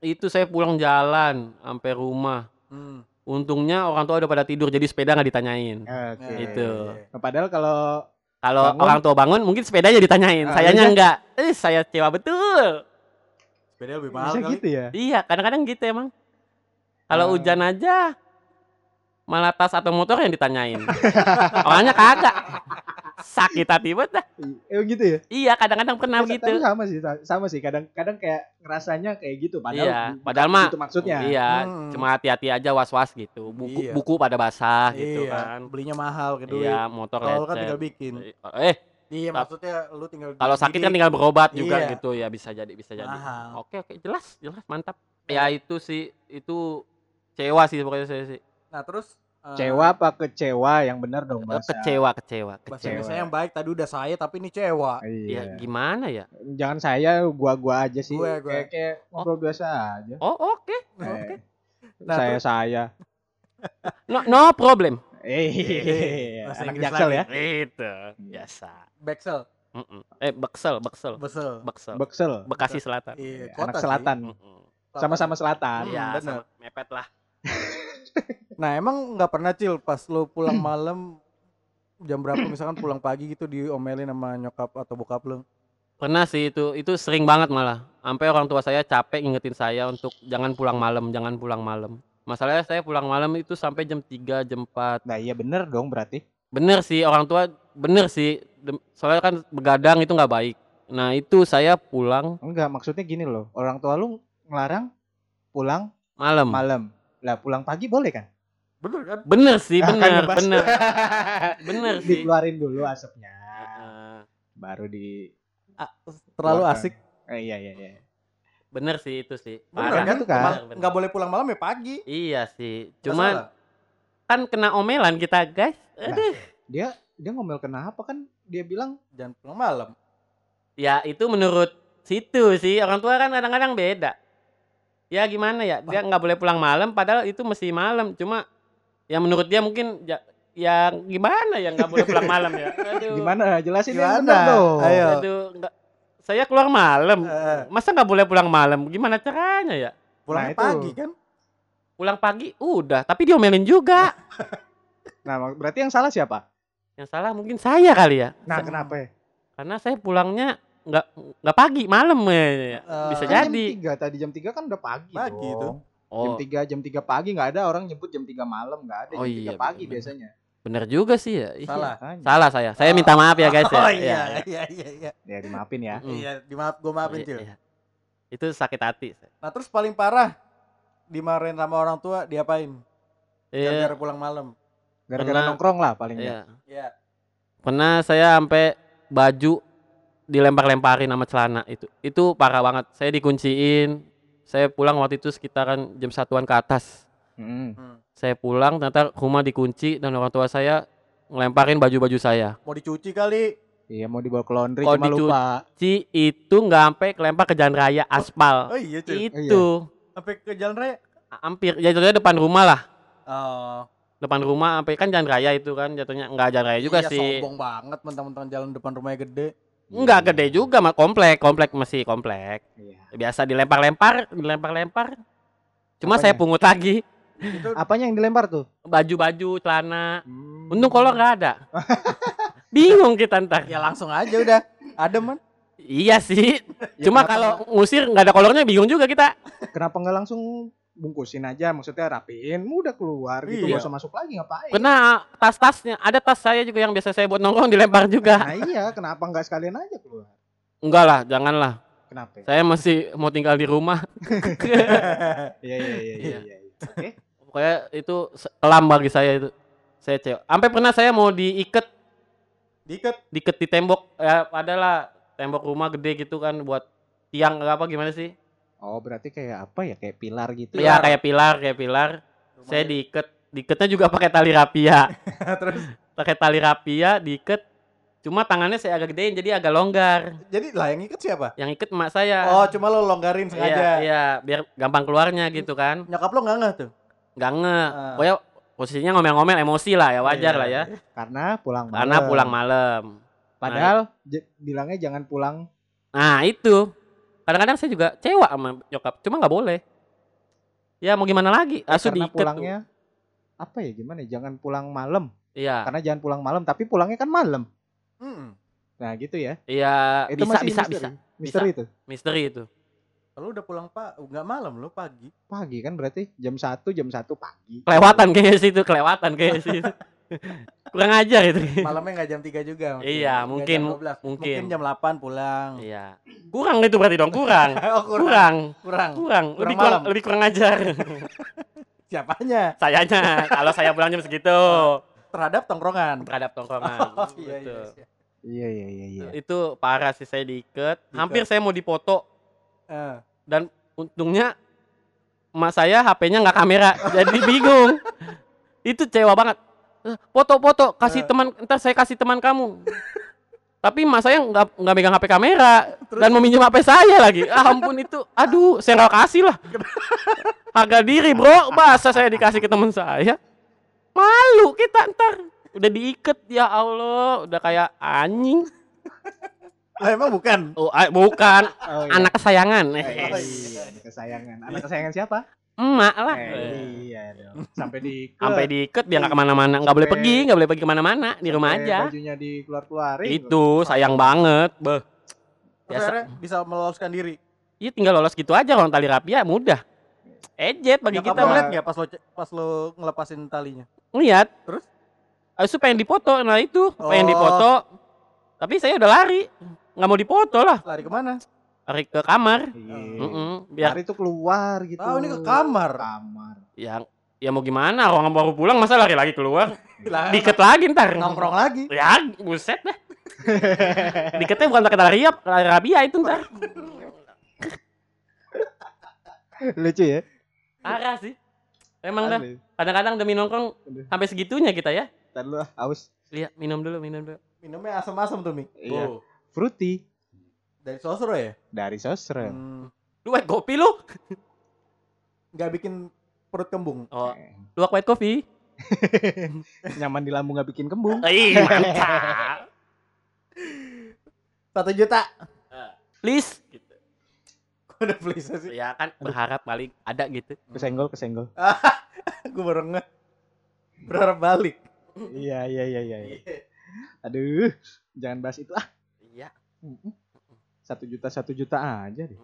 Itu saya pulang jalan sampai rumah.
Hmm.
Untungnya orang tua udah pada tidur jadi sepeda nggak ditanyain.
Oke.
Nah,
Gitu.
iya, iya.
Nah, Padahal kalau
Kalau
Bangun.
orang tua bangun mungkin sepedanya ditanyain.
Ah,
Sayanya
iya.
enggak. Eh saya kecewa betul.
Sepeda lebih mahal
bisa
kali.
gitu ya.
Iya, kadang-kadang gitu emang. Kalau
Ah.
hujan aja malah tas atau motor yang ditanyain. Orangnya kagak. Sakit hati banget dah.
Eh gitu ya.
Iya, kadang-kadang
Ya,
pernah begitu.
tapi sama sih, sa- sama sih. Kadang-kadang kayak ngerasanya kayak gitu. Padahal
Iya,
bukan
padahal mah-
Itu maksudnya.
Iya,
Hmm.
cuma hati-hati aja was-was gitu. Buku
Iya.
buku pada basah gitu
Iya,
kan.
Belinya mahal ke duit.
Iya, motor
Tol kan tinggal
lecet.
bikin.
Eh,
Iya,
Tap-
maksudnya lu tinggal
kalau sakit kan tinggal berobat juga
Iya.
gitu ya bisa jadi bisa jadi.
Mahal.
Oke, oke, jelas, jelas, mantap. Ya itu sih itu cewa sih pokoknya saya sih.
Nah, terus eh,
Cewa apa kecewa yang benar dong bahasa.
Kecewa, kecewa,
Bahasa
kecewa.
Indonesia yang baik tadi udah saya tapi ini cewa.
Ya
Iya.
gimana ya?
Jangan saya, gua-gua aja sih.
Gue, gue.
Kayak, kayak ngobrol biasa aja.
Oh oke,
Eh,
Nah,
saya saya.
no, no problem.
Eh,
Iya, Bahasa
anak
Inggris
jaksel
lagi.
ya.
Itu Gitu.
Hmm.
biasa.
Beksel,
Mm-mm. Eh Beksel, Beksel,
besel.
Beksel,
Beksel.
Bekasi Selatan.
Iya,
anak
sih.
selatan.
Mm-mm.
Selatan.
Sama-sama selatan.
Hmm,
Iya,
bener.
sama mepet lah.
Nah, emang nggak pernah cil pas lu pulang malam jam berapa misalkan pulang pagi gitu diomelin sama nyokap atau bokap lu.
Pernah sih itu, itu sering banget malah. Sampai orang tua saya capek ngingetin saya untuk jangan pulang malam, jangan pulang malam. Masalahnya saya pulang malam itu sampai jam 3, jam 4.
Nah, iya bener dong berarti.
Bener sih orang tua, bener sih. Dem- Soalnya kan begadang itu nggak baik. Nah itu saya pulang
Enggak, maksudnya gini loh. Orang tua lu ngelarang pulang
malam.
malam. Lah, pulang pagi boleh kan?
Bener kan?
Bener sih,
Akan
bener,
ngebas.
bener, bener sih.
Dikeluarin dulu asapnya.
Heeh.
Baru di
Terlalu
Keluarkan.
asik.
eh, iya iya iya.
Bener sih itu sih.
Bener
Parah.
kan?
Gitu kan?
Mal-
Bener, bener.
Nggak boleh pulang malam ya pagi.
Iya sih.
Nggak
Cuman
salah.
kan kena omelan kita guys.
Nah.
Aduh.
Dia dia ngomel kenapa kan dia bilang
jangan pulang malam.
Ya itu menurut situ sih. Orang tua kan kadang-kadang beda. Ya gimana ya. Dia nggak boleh pulang malam. Padahal itu mesti malam. Cuma ya menurut dia mungkin ya, ya gimana ya nggak boleh pulang malam ya. Aduh.
gimana? Jelasin yang
Gimana?
benar dong.
Ayo.
Aduh. nggak- Saya keluar
Nah,
malam.
Eh.
Masa nggak boleh pulang malam? Gimana caranya ya?
Nah,
Pulang
itu.
pagi kan?
Pulang pagi udah. Tapi diomelin juga.
Nah, mak- berarti yang salah siapa?
Nah.
Yang salah mungkin saya kali ya.
Nah,
Sa-
kenapa ya?
karena saya pulangnya nggak nggak pagi malam eh.
Eh,
bisa
Kan
jadi
Jam 3 tadi jam 3 kan udah pagi.
Pagi
dong.
itu.
oh
Jam 3 jam 3 pagi nggak ada orang nyebut jam 3 malam nggak ada
Oh,
jam 3
iya,
pagi
bener-bener.
biasanya. kan?
bener juga sih ya Iya.
Salah. Ah.
Makanya.
salah saya saya minta maaf ya guys ya,
Oh
Iya,
iya, iya, iya, iya.
Ya dimaafin ya.
Mm.
Iya, dimaaf, gue maafin
Iya,
Cil.
iya. itu sakit hati
Nah terus paling parah dimarahin sama orang tua diapain?
Iya,
Gara-gara pulang malam.
Gara-gara
Pernah-
nongkrong lah paling
iya.
ya.
Iya.
pernah saya sampai baju dilempar-lemparin sama celana itu itu parah banget saya dikunciin saya pulang waktu itu sekitaran jam satuan ke atas
Mm.
Hmm.
saya pulang ternyata rumah dikunci dan orang tua saya ngelemparin baju-baju saya
Mau dicuci kali?
Iya mau dibawa ke laundry
Kalau
cuma
dicu-
lupa.
Ci itu nggak sampai kelempar ke jalan raya aspal.
Oh iya cuy.
itu
Sampai ke jalan raya.
hampir ya jatuhnya depan rumah lah.
Oh,
Depan rumah sampai kan jalan raya itu kan jatuhnya nggak jalan raya juga
iya,
sih.
Sombong banget mentang-mentang jalan depan rumahnya gede.
Nggak gede juga mah komplek, komplek masih komplek.
Iya.
Biasa dilempar-lempar, dilempar-lempar. Cuma
Apanya?
saya pungut lagi
Itu
Apanya yang dilempar tuh?
baju-baju, celana. Hmm. Untung kalau nggak ada. Bingung kita ntar.
ya langsung aja udah. Ada man.
Iya sih.
Ya,
Cuma
kenapa
kalau ngusir nggak ada kolornya bingung juga kita.
nggak- kenapa nggak langsung bungkusin aja maksudnya rapiin udah keluar gitu
Iya.
nggak usah masuk lagi ngapain
Kena tas-tasnya. Ada tas saya juga yang biasa saya buat nongkrong dilempar juga.
nah iya kenapa nggak sekalian aja keluar
Enggak lah, janganlah.
kenapa ya?
saya masih mau tinggal di rumah
iya iya iya iya iya oke
pokoknya itu se- kelam bagi saya itu saya cewek sampai pernah saya mau diikat
Diket.
diikat di tembok ya adalah tembok rumah gede gitu kan buat tiang nggak apa gimana sih
oh berarti kayak apa ya kayak pilar gitu
ya kayak pilar kayak pilar saya diikat diikatnya juga pakai tali rapia
Terus
pakai tali rapia diikat cuma tangannya saya agak gedein jadi agak longgar
jadi lah yang iket siapa?
yang ikat emak saya
Oh cuma lo longgarin
iya
sengaja.
iya biar gampang keluarnya gitu kan
Nyokap lo nggak nggak tuh?
nggak nge
Ah.
pokoknya pokoknya posisinya ngomel-ngomel emosi lah ya wajar
Iya.
lah ya
karena pulang malam.
karena pulang malam
Padahal j- bilangnya jangan pulang.
nah itu kadang-kadang saya juga cewa sama nyokap cuma nggak boleh ya mau gimana lagi
karena
asuh diikat tuh.
pulangnya apa ya gimana? ya, Jangan pulang malam.
iya
Karena jangan pulang malam, tapi pulangnya kan malam.
Mm-mm.
Nah, gitu ya.
iya
Itu masih
bisa bisa
misteri.
bisa
Misteri itu.
misteri itu
Kalau udah pulang pak, nggak malam lo pagi.
Pagi kan berarti jam 1, jam 1 pagi.
kelewatan kayaknya sih itu kelewatan kayaknya sih itu. kurang ajar itu
Malamnya nggak jam 3 juga. Nggak
Iya, mungkin,
jam 12.
mungkin.
jam 8 pulang.
iya kurang itu berarti dong kurang
oh, kurang.
kurang
Kurang.
kurang lebih
Kurang
kurang
malam.
lebih kurang ajar
Siapanya?
sayanya kalau saya pulang jam segitu
Terhadap tongkrongan.
terhadap tongkrongan
Oh, iya,
Gitu.
iya, iya.
Iya, iya, iya, iya.
itu parah sih saya diikat hampir saya mau dipoto
Eh,
untungnya emak saya HP-nya nggak kamera jadi bingung itu cewa banget Eh, foto-foto kasih
Ya.
Eh.
teman ntar saya kasih teman kamu tapi emak saya nggak nggak megang HP kamera dan meminjam HP saya lagi ah ampun itu aduh saya nggak kasih lah harga diri bro masa saya dikasih ke teman saya malu kita ntar udah diikat ya Allah udah kayak anjing
lah emang bukan.
oh ah, bukan
Oh, iya.
anak kesayangan
Oh, iya,
eh,
iya, anak kesayangan. Anak kesayangan siapa?
emak lah
Eh, iya dong. Sampai di
Iya.
sampai diikat dia nggak kemana-mana nggak boleh
Sampai-
pergi nggak boleh pergi kemana-mana di rumah
iya,
sampai
aja
Bajunya dikeluar-keluarin.
itu sayang banget beh
Terus
Biasa.
akhirnya bisa meloloskan diri.
iya tinggal lolos gitu aja kalau tali rapia mudah ejet bagi
Nyokap
kita
lo
mah-
ngeliat nggak pas lo ce- pas lo ngelepasin talinya?
lihat
Terus?
Asu pengen dipoto nah itu
Oh.
pengen dipoto tapi saya udah lari nggak mau dipoto lah
Lari kemana?
lari ke kamar
Iya.
Mm-mm. biar
Hari itu keluar gitu.
Tahu ini ke kamar.
Kamar.
ya ya mau gimana orang baru pulang masa lari lagi keluar
Lah,
diket lagi ntar
nongkrong lagi.
ya buset dah diketnya bukan pakai tali riap tali rabia itu ntar
Lucu ya?
Parah sih. Emang dah.
Asli.
Kadang-kadang demi nongkrong
Aduh.
sampai segitunya kita ya.
Ntar lu ah, haus.
Lihat minum dulu, minum dulu.
Minumnya asam-asam tuh, Mi.
Iya.
Oh,
Fruity
Dari Sosro ya?
dari sosro.
Hmm,
Luwak kopi lu.
Nggak bikin perut kembung.
Oh,
Eh.
luwak white coffee.
Nyaman di lambung gak bikin kembung.
Ih, mantap.
Satu juta.
Please gitu.
Gua udah please sih.
Ya kan berharap paling ada gitu.
Kesenggol, kesenggol.
Gue baru nge. Berharap balik.
Iya, iya, iya, iya. iya. Aduh, jangan bahas itu ah.
Iya.
Mm-mm. Satu juta, satu juta aja deh.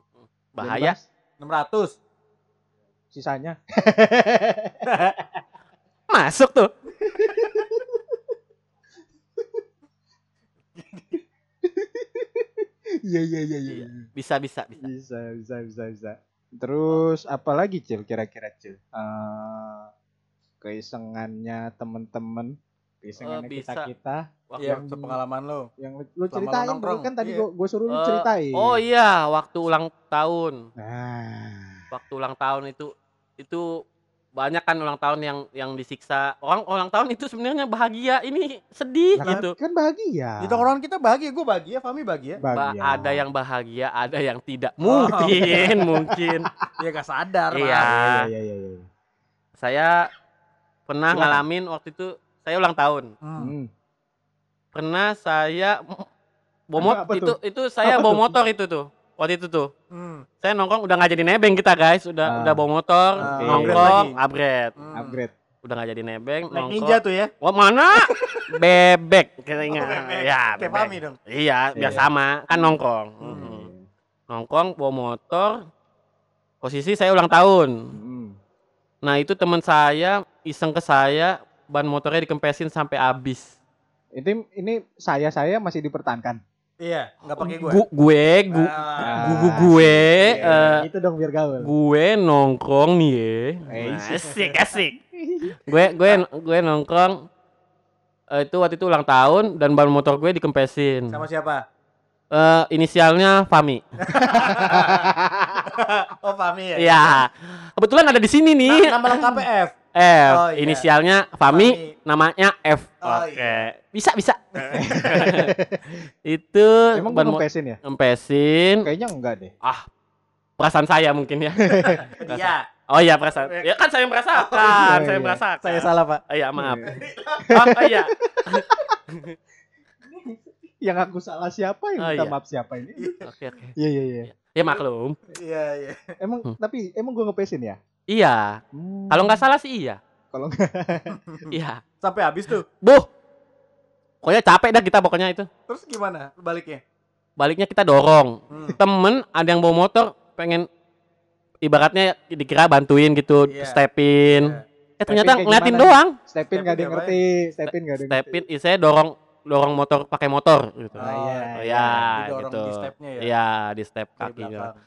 Jangan
Bahaya.
bahas
600.
Sisanya.
Masuk tuh.
Iya, iya, iya, iya.
Iya. Bisa bisa bisa. Oh.
Bisa, bisa, bisa, bisa. Terus apa lagi Cil kira-kira Cil? Eh, keisengannya temen-temen, keisengannya
Eh, bisa.
kita-kita
Waktu-
Iya,
Yang-
sepengalaman lo.
yang lu- lu
Selama lu
ceritain dulu
nongkrong.
kan tadi
Iya.
gua, gua suruh lu
Eh,
ceritain.
Oh iya, waktu ulang tahun.
Nah,
Waktu ulang tahun itu itu banyak kan ulang tahun yang yang disiksa. Orang ulang tahun itu sebenarnya bahagia, ini sedih
lah kan-
gitu.
kan bahagia.
Di tongkrongan kita bahagia, gue bahagia, Fami bahagia.
Ba-
bahagia.
ada yang bahagia, ada yang tidak.
Oh.
Mungkin, mungkin.
Ya gak sadar.
Iya.
Mas.
Iya, iya, iya, iya.
Saya pernah
Silakan.
ngalamin waktu itu saya ulang tahun.
Hmm.
Hmm.
Pernah saya bomot
Apa
itu
tuh?
itu saya
Apa
bawa
tuh?
motor itu tuh. Waktu itu tuh.
Hmm.
Saya nongkrong udah nggak jadi nebeng kita guys, udah
Ah.
udah bawa motor,
Ah,
Eh, upgrade
nongkrong,
lagi.
upgrade.
Hmm.
Upgrade.
Udah nggak jadi nebeng,
Naik ninja
nongkrong.
tuh ya.
Wah, mana? bebek kita ingat.
Oh, bebek.
Ya,
Kayak
bebek.
Fami dong.
Iya, biar
Iya. Hmm.
sama, kan nongkrong. Mhm. Nongkrong bawa motor. Posisi saya ulang tahun.
Hmm.
Nah itu teman saya iseng ke saya ban motornya dikempesin sampai habis.
Ini ini saya saya masih dipertahankan.
Iya, gak pakai gue.
Gu- gue gue
Ah.
Ah,
gu- gue
iya.
eh,
itu dong biar gaul.
gue nongkrong nih ye.
Eh,
Nah, asik asik. gue gue gue nongkrong eh, itu waktu itu ulang tahun dan ban motor gue dikempesin.
Sama siapa?
Eh, inisialnya Fami.
Ah,
oh, Fami ya.
Iya. Kebetulan ada di
Nah,
sini nih.
nama lengkapnya F.
F.
Oh, iya.
Inisialnya Fami. namanya F.
Oh,
Oke.
iya.
Bisa, bisa. itu
Emang gue
ban mo-
ngempesin ya?
ngempesin
Kayaknya enggak deh.
perasaan saya mungkin ya.
Dia.
Oh iya perasaan. Ya kan saya yang
Oh,
merasakan, saya
iya.
merasakan.
Saya salah pak.
Oh, iya maaf.
Iya.
Oh iya.
Yang aku salah siapa yang
Oh,
minta
iya.
maaf siapa ini?
Oke oke.
Iya iya iya.
Ya maklum.
Iya iya.
Emang
Hmm.
tapi emang gua ngepesin ya?
Iya.
Hmm.
Kalau nggak salah sih iya.
kalau nggak
Iya.
Sampai habis tuh.
Buh. Pokoknya capek dah kita pokoknya itu.
Terus gimana baliknya?
Baliknya kita dorong.
Hmm.
Temen ada yang bawa motor pengen ibaratnya dikira bantuin gitu,
Iya.
stepin. Eh ternyata
kayak
ngeliatin
gimana?
doang.
Stepin nggak ada yang
Stepin
ngerti, Stepin nggak ada yang ngerti.
Stepin, saya dorong dorong motor pakai motor gitu.
Oh, iya,
Oh,
iya.
iya,
Didorong
gitu.
di stepnya ya.
Iya, di step
Dari
kakinya.
belakang.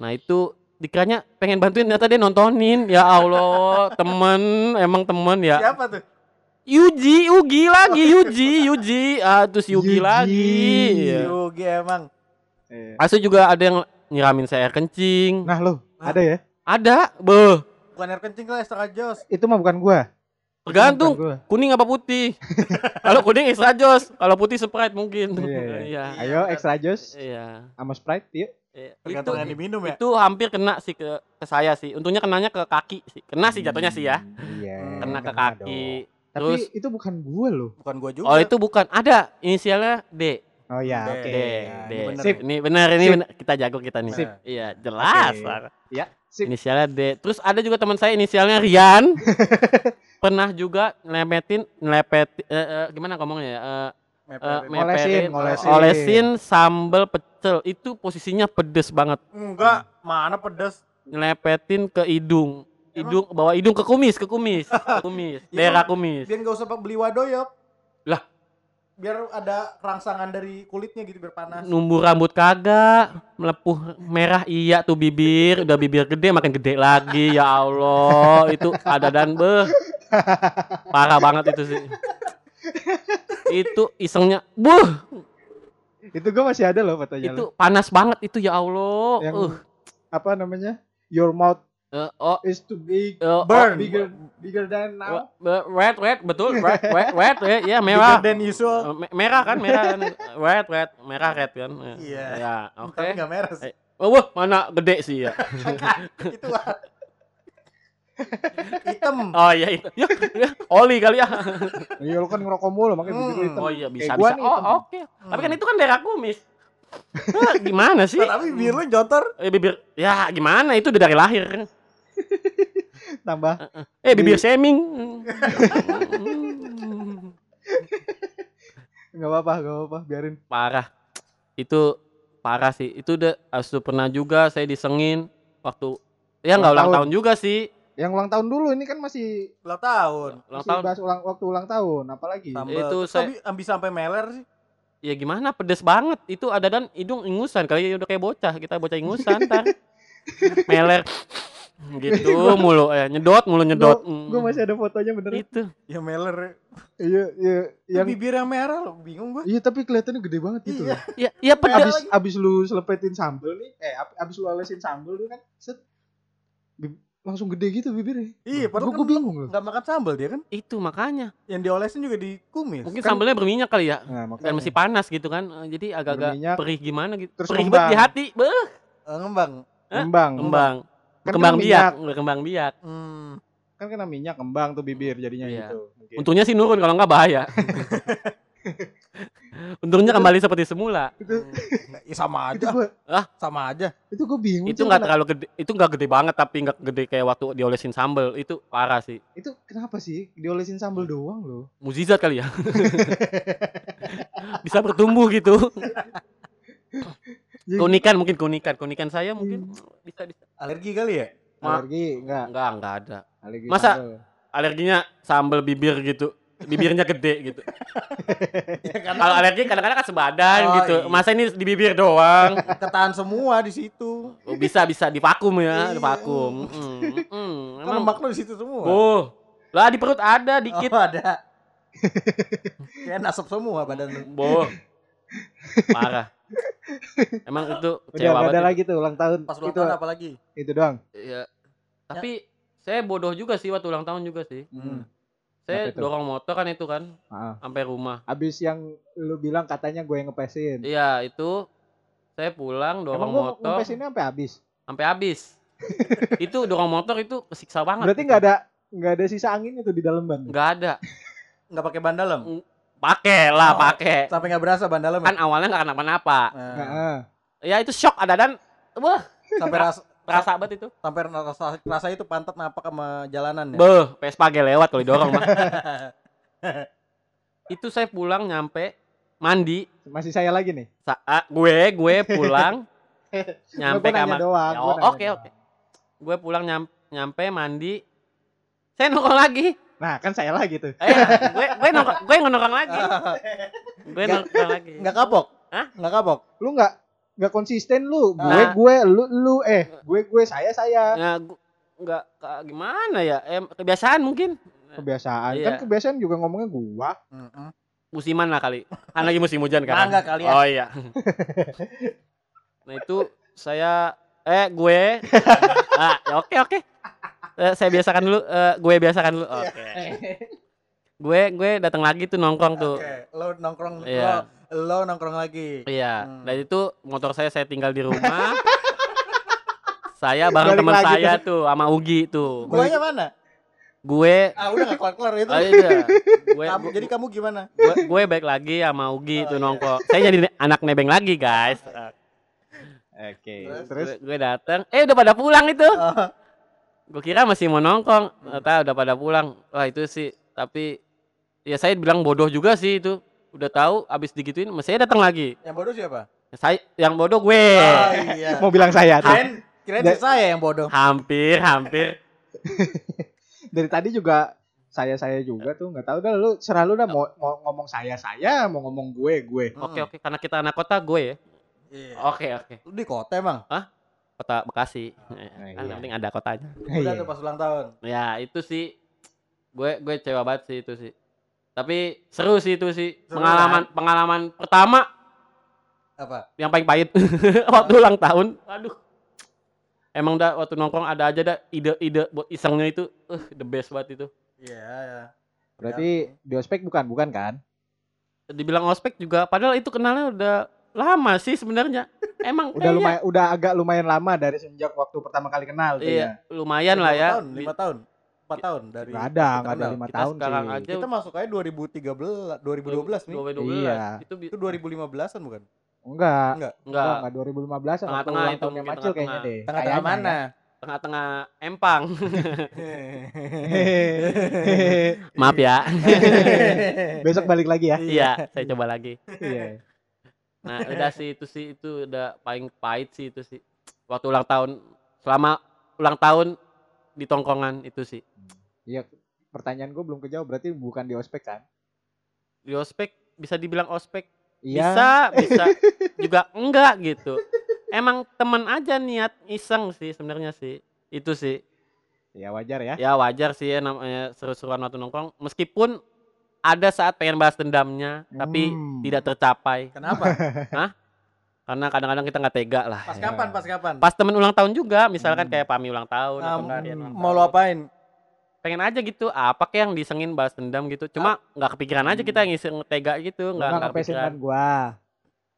Nah itu dikiranya pengen bantuin ternyata dia nontonin ya Allah temen emang temen ya
Siapa tuh?
Yuji Yugi lagi Yuji Yuji ah terus
Yuji.
Yugi, lagi
Iya.
Yogi emang.
Iya.
Asu juga ada yang nyiramin saya air kencing
Nah lo
Nah.
Ah.
ada ya?
ada beh
Bukan air kencing lah setengah jos.
Itu mah bukan gua. Itu mah bukan
tergantung
gua.
kuning apa putih kalau kuning extra jos kalau putih sprite mungkin
Iya, iya.
iya
Ayo extra juice
iya
sama Sprite yuk.
Iya. itu
Tergantung yang diminum ya.
itu hampir kena sih ke, ke saya sih untungnya kenanya ke kaki sih kena sih jatuhnya sih ya
Iya.
Hmm,
kena ke
dong.
kaki
Tapi
terus
itu bukan gua loh.
Bukan gua juga.
Oh itu bukan, ada inisialnya D.
Oh
Deh,
ya, oke.
D.
ya,
D.
ini bener
Sip.
nih.
Ini benar, ini
Sip.
benar. Kita jago kita nih.
Sip.
Iya, jelas.
Oke.
lah.
Ya, sip.
Inisialnya D. Terus ada juga teman saya inisialnya Rian. Pernah juga nyelepetin, nyelepetin, eh, eh, gimana ngomongnya ya? Eh,
Mepet, mepet.
eh,
mepet. Ngolesin,
mepetin,
ngolesin.
Olesin sambal pecel. Itu posisinya pedes banget.
Enggak, mana pedes.
Nyelepetin ke hidung. Hidung, bawa hidung ke kumis, ke kumis, ke kumis,
Iya,
daerah kumis.
Biar enggak usah beli wadoyop.
Lah.
Biar ada rangsangan dari kulitnya gitu biar panas.
numbu rambut kagak melepuh merah iya tuh bibir udah bibir gede makin gede lagi ya Allah itu ada dan beh parah banget itu sih itu isengnya buh
Itu gua masih ada loh fotonya.
itu
Itu
panas banget itu ya Allah
Iya, yang
uh,
apa namanya? Your mouth
eh, oh,
is too big, Oh,
eh,
Burn.
bigger, bigger than now.
oh, eh, red red betul red red red ya, ya, merah
Bigger than usual.
Eh, me- merah kan merah kan red red merah red kan
Iya.
ya oke
Tapi enggak merah sih.
Eh. Oh, wah, mana gede sih ya
itu ah. hitam.
Oh iya itu. Ya, ya, Oli kali ya.
Iya lu kan ngerokok mulu makanya
Hmm.
bibir lu hitam.
Oh iya bisa
Kayak gua
bisa.
nih,
Oh
temen.
oke. Tapi kan itu kan daerah kumis. Hah, gimana sih?
tapi bibir lu jontor.
Eh, bibir ya gimana itu udah dari lahir. kan? iya.
Tambah
Eh bibir
Di-
shaming.
nggak apa-apa, nggak apa-apa, biarin.
parah. Itu parah sih. Itu udah asu pernah juga saya disengin waktu ya
Ulang
nggak ulang
tahun.
tahun juga sih.
Yang ulang tahun dulu ini kan masih
Lah tahun.
Ulang
masih
tahun.
bahas ulang waktu ulang tahun, apalagi.
Tambah.
Itu
Terus
saya-
Tapi ambil sampai meler sih.
Ya gimana pedes banget. Itu ada dan hidung ingusan kali ya udah kayak bocah. Kita bocah ingusan ntar. Meler gitu mulu eh, nyedot mulu nyedot. Hmm.
Gue masih ada fotonya bener.
itu
Ya meler.
Iya, iya,
Yang...
yang
Bibir yang merah loh, bingung gua.
Iya tapi kelihatannya gede banget gitu
Iya.
loh.
ya ya
Abis,
pedes
abis lu selepetin sambel nih, eh ab- abis lu olesin sambel lu kan, set, bib- langsung gede gitu bibirnya.
Iya, padahal
Gue
kan
bingung loh. Nah,
enggak makan sambal dia kan.
itu makanya
Yang diolesin juga di kumis.
mungkin
Kan-
sambelnya berminyak kali ya
Nah, makanya.
dan masih panas gitu kan Eh, jadi agak-agak
Berminyak.
perih gimana gitu
Terus
perih
kembang.
banget di hati beuh
Eh, ngembang.
kembang.
kembang
Kan
kembang
kena
biak kembang biak
Hmm.
Kan kena minyak kembang tuh bibir jadinya
Iya.
gitu. Mungkin.
untungnya sih nurun kalau nggak bahaya untungnya kembali seperti semula
itu
Ya sama
itu
aja,
gue
sama aja.
itu gue bingung.
itu
Cil,
nggak
kenapa-
terlalu gede itu nggak gede banget tapi nggak gede kayak waktu diolesin sambel itu parah sih
Itu kenapa sih diolesin sambel
Iya.
doang loh?
muzizat kali ya bisa bertumbuh gitu
Jadi- Hmm.
keunikan mungkin keunikan keunikan saya mungkin bisa bisa
Alergi kali ya?
Ma-
Alergi enggak?
enggak enggak ada
Alergi
Masa-
sambel.
alerginya sambel bibir gitu bibirnya gede gitu
ya
kalau
karena
alergi kadang-kadang kan sebadan
Oh,
gitu
iya.
masa ini di bibir doang
ketahan semua di situ.
Oh, bisa bisa di vakum ya
Iya.
di vakum Mm, mm,
Kan
emang
lemak lu di situ semua.
oh lah di perut ada dikit
Oh, ada. Kayak nasab semua badan
Oh.
lu.
boh parah emang itu
Udah nggak
kecewa
ada
banget
lagi Ya. tuh ulang tahun.
Pas ulang
itu,
tahun apalagi?
itu doang.
Iya. Tapi saya bodoh juga sih waktu ulang tahun juga sih.
Hmm. Kenapa
Saya
itu?
dorong motor kan itu kan
Ah.
sampai rumah.
Abis yang lu bilang katanya gue yang ngepesin.
Iya, itu saya pulang dorong
Emang gue
motor
ngepesinnya sampai habis.
sampai habis. itu dorong motor itu kesiksa banget.
Berarti nggak ada nggak ada sisa anginnya tuh di dalam ban.
Nggak ada.
Nggak pakai ban dalam.
Pakai lah,
Oh.
pakai.
Sampai nggak berasa ban dalam. ya?
Iya. Kan awalnya nggak kenapa-napa.
Nah,
Heeh.
Ya itu shock adadan. Wah,
sampai rasa
terasa banget itu.
sampai rasa, rasa itu pantat napak sama jalanan ya.
Beuh, Vespa ge lewat kalau didorong mah. itu saya pulang nyampe mandi.
Masih saya lagi nih.
Saat gue gue pulang nyampe
Gua nanya
kamar.
doang.
Ya,
gua
Oke
nanya
oke.
doang.
Gue pulang nyam- nyampe mandi. Saya nongkrong lagi.
Nah, kan saya lagi tuh.
Eh, gue gue nongkrong gue nongkrong lagi. Gue
Nggak-
nongkrong lagi.
Nggak kapok.
Hah?
Nggak kapok.
Lu nggak nggak konsisten lu. Gue
Nah.
gue lu lu eh gue gue saya saya.
Ya, gu- nggak ka- gimana ya? Em, kebiasaan mungkin.
Kebiasaan.
Iya.
Kan kebiasaan juga ngomongnya gua.
Mm-mm.
Musiman lah kali. Kan lagi musim hujan kan.
Mangga kali ya.
Oh iya. nah itu saya eh gue ah ya oke oke. Eh, saya biasakan dulu eh, gue biasakan dulu. Oke. Gue gue datang lagi tuh nongkrong tuh.
Oke, lo nongkrong
Iya.
lo, lo nongkrong lagi.
Iya.
Hmm.
Dan itu motor saya saya tinggal di rumah. saya bareng
Balik
teman
lagi
saya
kan?
tuh sama Ugi tuh.
Guanya mana?
Gue
Ah, udah nggak kelar-kelar itu.
ah, iya. gue,
Kamu,
gue,
jadi kamu gimana?
gue, gue baik lagi sama
Oh,
Ugi tuh
iya.
nongkrong. Saya jadi ne- anak nebeng lagi, guys.
Oke.
Terus?
Terus
Gue, gue datang, eh udah pada pulang itu.
Oh,
gue kira masih mau nongkrong ternyata udah pada pulang wah itu sih tapi ya saya bilang bodoh juga sih itu udah tahu abis digituin masih saya datang lagi
yang bodoh siapa?
saya yang bodoh gue
Oh iya.
mau bilang saya tuh.
Kirain, kirain si saya yang bodoh.
hampir hampir
Dari tadi juga saya saya juga tuh nggak tahu dah lu serah lu dah mau, mau ngomong saya saya mau ngomong gue gue.
oke oke karena kita anak kota gue ya
Iya.
oke oke
Lu di kota emang?
kota bekasi kan
Nah,
yang
iya.
penting ada kotanya
Udah
Iya.
tuh pas ulang tahun.
ya itu sih gue gue kecewa banget sih itu sih tapi seru kan? sih itu sih
Seru,
pengalaman pengalaman pertama
Apa?
yang paling pahit waktu ulang tahun. Nah. Aduh. Emang dah waktu nongkrong ada aja dah ide-ide buat isengnya itu eh the best banget itu.
Iya, iya.
Berarti di ospek bukan bukan kan?
Dibilang ospek juga padahal itu kenalnya udah lama sih sebenarnya. Emang
Udah
kayaknya-
lumayan udah agak lumayan lama dari sejak waktu pertama kali kenal tuh
Iya,
ya.
lumayan lah
Berapa
ya.
Tahun, lima tahun. Empat tahun dari
Gak ada,
kita
gak ada
kenal.
lima
Iya, Kita
tahun
sekarang
sih.
aja
Kita masuk aja 2013, 2012 nih.
2012.
Iya.
Itu bi-
Itu 2015-an bukan?
Enggak,
enggak
enggak 2015 an waktu
Tengah-tengah
ulang
itu
tahunnya
mungkin
Macil kayaknya
tengah-tengah.
deh.
Tengah-tengah
Kayaknya
mana?
ya.
tengah-tengah empang.
Hehehe.
Maaf ya.
Besok balik lagi ya.
Iya, saya coba lagi.
Iya.
Nah, udah sih itu sih itu udah paling pahit sih itu sih. Waktu ulang tahun selama ulang tahun di tongkongan itu sih.
Iya, pertanyaan gue belum kejawab berarti bukan di ospek kan?
Di ospek bisa dibilang ospek.
Iya.
Bisa, bisa juga enggak gitu. Emang temen aja niat iseng sih sebenarnya sih. Itu sih.
Ya wajar ya.
Ya wajar sih ya namanya seru-seruan waktu nongkrong meskipun ada saat pengen balas dendamnya tapi
Hmm.
tidak tercapai
Kenapa?
karena kadang-kadang kita nggak tega lah.
Pas kapan? Pas kapan?
Pas temen ulang tahun juga, misalkan
Hmm.
kayak Pami ulang tahun
Nah,
atau nggak Rian ulang
mau
tahun.
lo apain?
pengen aja gitu apa kayak yang disengin balas dendam gitu cuma nggak kepikiran aja kita ngisi tega gitu nggak
Enggak
nggak
kepesin
kepikiran
ban gua.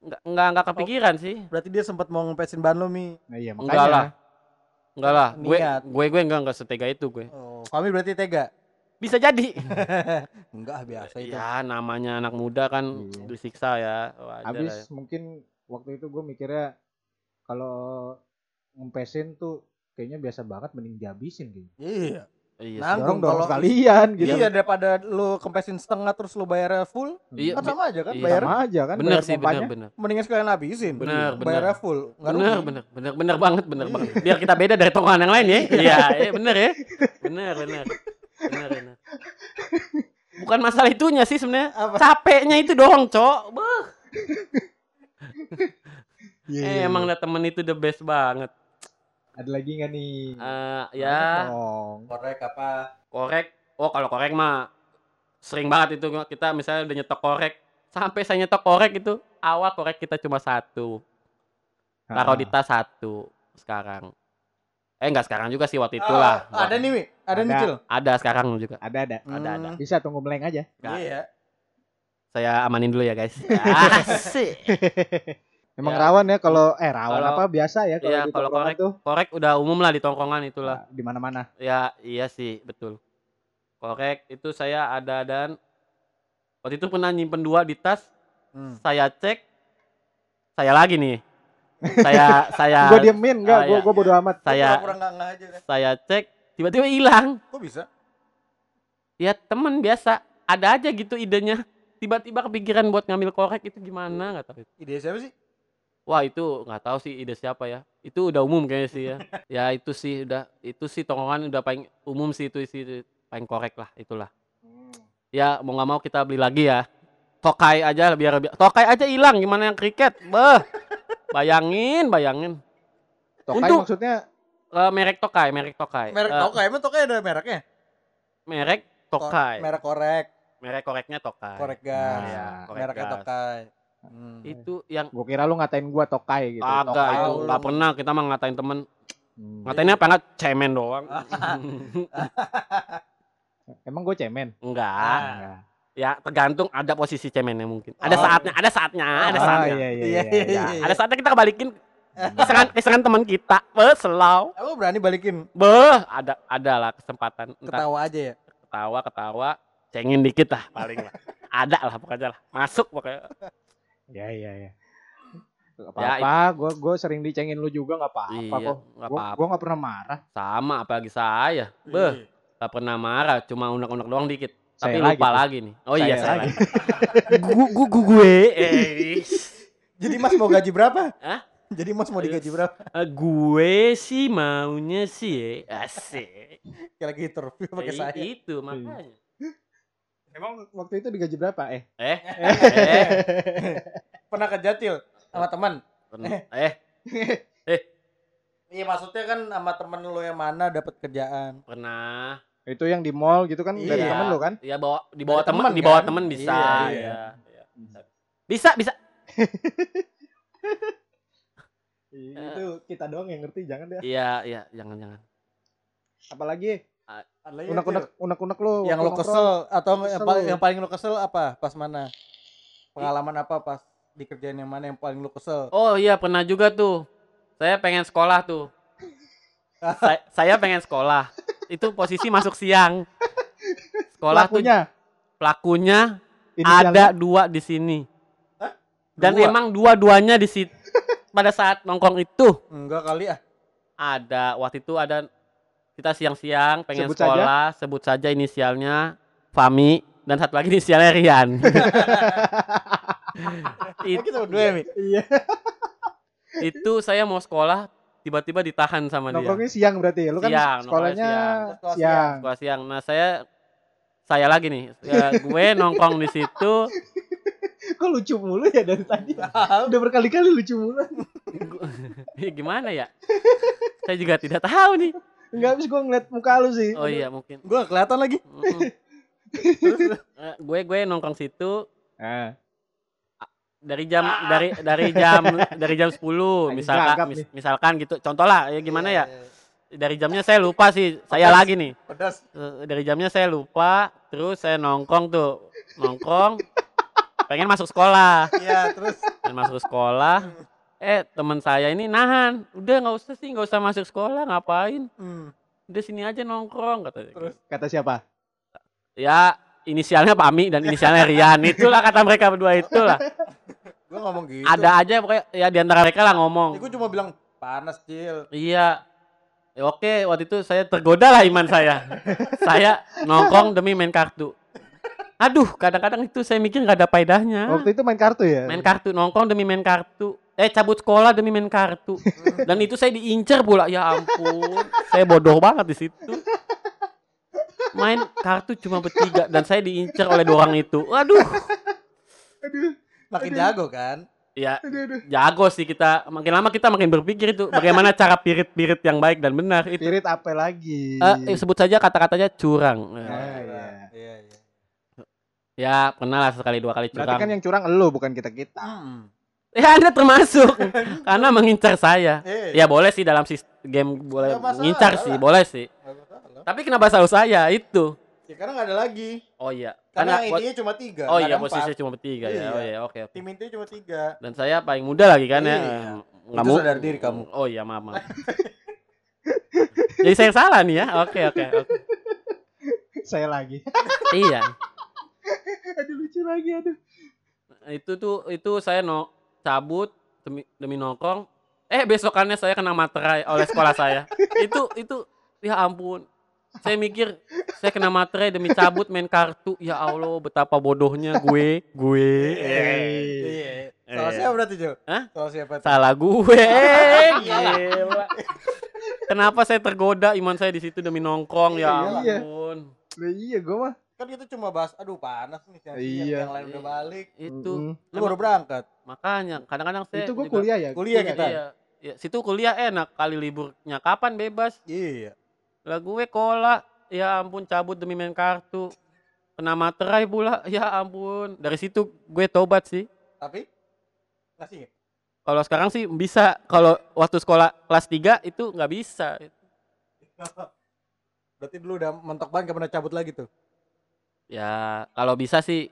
nggak nggak nggak kepikiran sih
Berarti dia sempat mau ngempesin ban lo, Mi.
Nah, iya makanya.
enggak lah enggak lah gue
Niat.
gue gue enggak enggak setega itu gue
Oh, kami berarti tega.
bisa jadi
Enggak biasa itu.
ya namanya anak muda kan
Iya.
disiksa ya wajar
Habis
lah ya.
mungkin waktu itu gue mikirnya kalau ngempesin tuh kayaknya biasa banget mending dihabisin gitu.
Iya.
iya
Nah,
sih.
Dorong
Tanggung
dorong
kalau-
sekalian gitu.
Iya daripada lu kempesin setengah terus lu bayarnya full,
Iya,
kan
bi-
sama aja kan
iya.
bayar.
Sama aja kan
bener
bayar
sih bener
pompanya.
bener
Mendingan sekalian habisin.
Bener, bener.
Bayarnya full. Enggak
bener
rugi.
bener bener bener banget bener
Iya.
banget biar kita beda dari tongkrongan yang lain ya iya iya, bener ya bener bener bener bener bukan masalah itunya sih sebenarnya
Apa?
capeknya itu doang cok Beuh.
Iya,
Eh,
iya,
emang
iya.
dah temen itu the best banget
ada lagi nggak nih?
Eh, ya
Dong.
Korek apa?
korek oh kalau korek mah sering banget itu kita misalnya udah nyetok korek sampai saya nyetok korek itu awal korek kita cuma satu
Ah.
taruh Nah, di tas satu sekarang eh enggak sekarang juga sih waktu itulah
Ah, ada nih, Mi. Ada, nih,
Ada.
Cil.
ada sekarang juga
Ah, ada ada.
Ada, ada.
Hmm,
Bisa tunggu meleng aja.
Nggak.
Iya.
saya amanin dulu ya guys asik
Emang
Ya.
rawan ya kalau eh rawan
Kalau-
apa biasa ya kalau
Iya,
di
kalau
tongkrongan
korek-
tuh
korek udah umum lah di tongkongan itulah
nah, di mana-mana.
ya iya sih betul korek itu saya ada dan waktu itu pernah nyimpen dua di tas
Hmm.
saya cek saya lagi nih saya saya
Gua diemin enggak,
ah,
gua
iya.
gua bodo amat.
saya
pura nggak nggak aja kan? deh.
saya cek tiba-tiba hilang
Kok bisa?
ya temen biasa ada aja gitu idenya tiba-tiba kepikiran buat ngambil korek itu gimana nggak tahu
Ide siapa sih?
wah itu nggak tahu sih ide siapa ya itu udah umum kayaknya sih ya ya itu sih udah itu sih tongkrongan udah paling umum sih itu sih paling korek lah itulah
Hmm.
ya mau nggak mau kita beli lagi ya tokai aja biar biar- tokai aja hilang gimana yang kriket beh bayangin bayangin
Tokai
Untuk-
maksudnya
Eh, merek tokai merek tokai
Merek
Eh,
Tokai, emang Tokai ada mereknya?
merek tokai
Merek korek,
merek koreknya tokai
korek
Nah,
gas.
Iya, korek
Mereknya
gas.
Tokai. Hmm.
itu yang
gua kira lu ngatain gua tokai gitu.
agak
tokai
Ah, itu
lu.
nggak pernah kita mah ngatain temen
Hmm.
Iya.
Ngatainnya apa enggak cemen doang.
Emang gua cemen. Ah,
Ah.
enggak.
Enggak.
Ya tergantung ada posisi cemennya mungkin. Ada
Oh.
saatnya, ada saatnya, ada
Ah,
saatnya.
iya iya
Iya,
iya.
Ya,
iya.
ada saatnya kita kebalikin
Hmm.
kesengan kesengan teman kita. Beh, selau.
Aku berani balikin
Beh, ada ada lah kesempatan. Entar
ketawa aja ya.
ketawa ketawa, cengin dikit lah paling lah. ada lah pokoknya lah. Masuk pokoknya.
Ya iya iya. Gak apa-apa, gua gua sering dicengin lu juga nggak apa-apa
Ya, Iya,
kok.
enggak
Gua
apa-apa.
gua nggak pernah marah.
Sama apalagi saya. Beh, enggak pernah marah, cuma unek-unek doang dikit.
Iya.
Tapi
Saya
lupa
lagi.
lagi, nih. Oh iya,
Saya
saya
lagi.
lagi. Gu- gu- gu- gue eh.
Jadi Mas mau gaji berapa?
Hah?
Jadi Mas mau digaji berapa?
Eh, gue sih maunya sih ya, asik.
Kayak lagi interview pakai
Eh,
saya. Hmm.
Itu makanya.
Emang waktu itu digaji berapa? Eh,
Eh, eh,
Pernah ke Jatil sama teman?
pernah- eh,
Iya maksudnya kan sama temen lo yang mana dapat kerjaan.
pernah.
itu yang di mall gitu kan dari
Iya.
temen lu kan?
Ya bawa di bawah
Ada
teman,
teman,
di bawah
kan?
teman bisa.
Iya,
ya.
iya.
ya. Bisa, bisa.
Iya, Itu kita doang yang ngerti, jangan deh.
Iya, iya, jangan jangan.
apalagi
Ada lagi
Iya, unek-unek
Cil?
unek-unek lu
yang
waktu nongkrong.
lo kesel atau
Kesel.
yang paling yang paling lo kesel apa pas mana pengalaman apa pas di kerjaan yang mana yang paling lo kesel
Oh iya, pernah juga tuh. Saya pengen sekolah tuh. Sa- saya pengen sekolah. Itu posisi masuk siang. Sekolah
pelakunya
tuh pelakunya
inisialnya.
ada dua di sini. Dan
Dua?
emang dua-duanya di situ pada saat nongkrong itu
enggak kali ah
ada waktu itu ada kita siang-siang pengen
Sebut
sekolah, sebut saja inisialnya Fami dan satu lagi inisialnya Rian.
oh,
It-
kita berdua ya mi
iya
itu saya mau sekolah tiba-tiba ditahan sama dia.
nongkrongnya siang berarti lu kan
Siang,
sekolahnya
nongkrongnya
siang.
siang,
Sekolah siang. Nah, saya saya lagi nih. Ya, gue nongkrong di situ.
kok lucu mulu ya dari tadi udah berkali-kali lucu mulu
Gu- Ya, Gimana ya? Saya juga tidak tahu nih.
nggak habis gua ngeliat muka lu sih
Oh iya, mungkin
gue kelihatan lagi
Mm-mm. Eh, gue gue nongkrong situ
Ah,
dari jam dari dari jam dari jam 10
Agak
misalkan
gagap
mis-
nih.
misalkan gitu. Contoh lah ya gimana ya?
Iya, iya, iya.
Dari jamnya saya lupa sih. Saya
Pedas.
lagi nih.
pedas
Eh, Dari jamnya saya lupa, terus saya nongkrong tuh. Nongkrong pengen masuk sekolah.
iya terus
Pengen masuk sekolah. Eh, teman saya ini nahan. Udah nggak usah sih, nggak usah masuk sekolah, ngapain?
hmm,
Udah sini aja nongkrong katanya.
terus
kata siapa
ya inisialnya Pami dan inisialnya Rian itulah kata mereka berdua itulah
gue ngomong gitu
ada aja pokoknya ya diantara mereka lah
ya,
ngomong
gue cuma bilang panas cil
iya Ya, oke waktu itu saya tergoda lah iman saya saya nongkrong demi main kartu aduh kadang-kadang itu saya mikir nggak ada faedahnya
waktu itu main kartu ya
Ah. main kartu nongkrong demi main kartu eh cabut sekolah demi main kartu dan itu saya diincer pula ya ampun saya bodoh banget di situ main kartu cuma bertiga dan saya diincer oleh dua orang itu aduh
aduh
makin
Aduh.
jago kan
ya
aduh aduh
jago sih kita makin lama kita makin berpikir itu bagaimana cara pirit-pirit yang baik dan benar itu
spirit apa lagi
Eh, eh, sebut saja kata-katanya curang
Ah,
Eh,
iya
iya.
iya iya
ya pernah lah sekali dua kali
berarti
curang
kan yang curang elu bukan kita kita
Hmm.
ya anda termasuk karena mengincar saya
Eh,
ya boleh sih dalam sis- game boleh
Nggak masalah
mengincar
lah.
sih boleh sih
nggak masalah.
tapi kenapa selalu saya ya, itu
ya karena nggak ada lagi
oh iya Karena
Karena yang
buat-
intinya cuma tiga.
Oh
nggak
iya
ada
posisinya
empat.
cuma bertiga ya. Oh
Iya.
iya oke. oke.
Tim intinya cuma tiga.
Dan saya paling muda lagi kan ya.
Iya.
Nggak
Itu
mau-
sadar diri kamu.
Oh iya maaf. maaf. Jadi saya yang salah nih ya. Oke oke. oke.
Saya lagi.
Iya.
aduh lucu lagi aduh.
Itu tuh itu saya no cabut demi, demi nongkrong. Eh besokannya saya kena materai oleh sekolah saya. itu itu ya ampun. Saya mikir saya kena materai demi cabut main kartu. Ya Allah betapa bodohnya gue gue.
Iya.
Eh.
Iya. Salah
Eh.
siapa berarti, Jo?
Hah?
Salah siapa? tuh?
Salah gue. Gila. Kenapa saya tergoda iman saya di situ demi nongkrong ya
Iya.
ampun.
Lah iya gue mah.
Kan kita cuma bahas, aduh panas nih siang
Iya.
yang lain udah balik.
Itu
Mm-mm.
Lu baru berangkat.
makanya kadang-kadang saya
itu gue
juga-
kuliah ya.
Kuliah kita.
Iya. Ya, situ kuliah enak kali liburnya kapan bebas.
Iya.
Lah gue kolak. Ya ampun cabut demi main kartu. Kena materai pula. Ya ampun. Dari situ gue tobat sih.
Tapi ngasih nggak? ya?
Kalau sekarang sih bisa. Kalau waktu sekolah kelas 3 itu nggak bisa.
Berarti dulu udah mentok banget gak pernah cabut lagi tuh.
Ya kalau bisa sih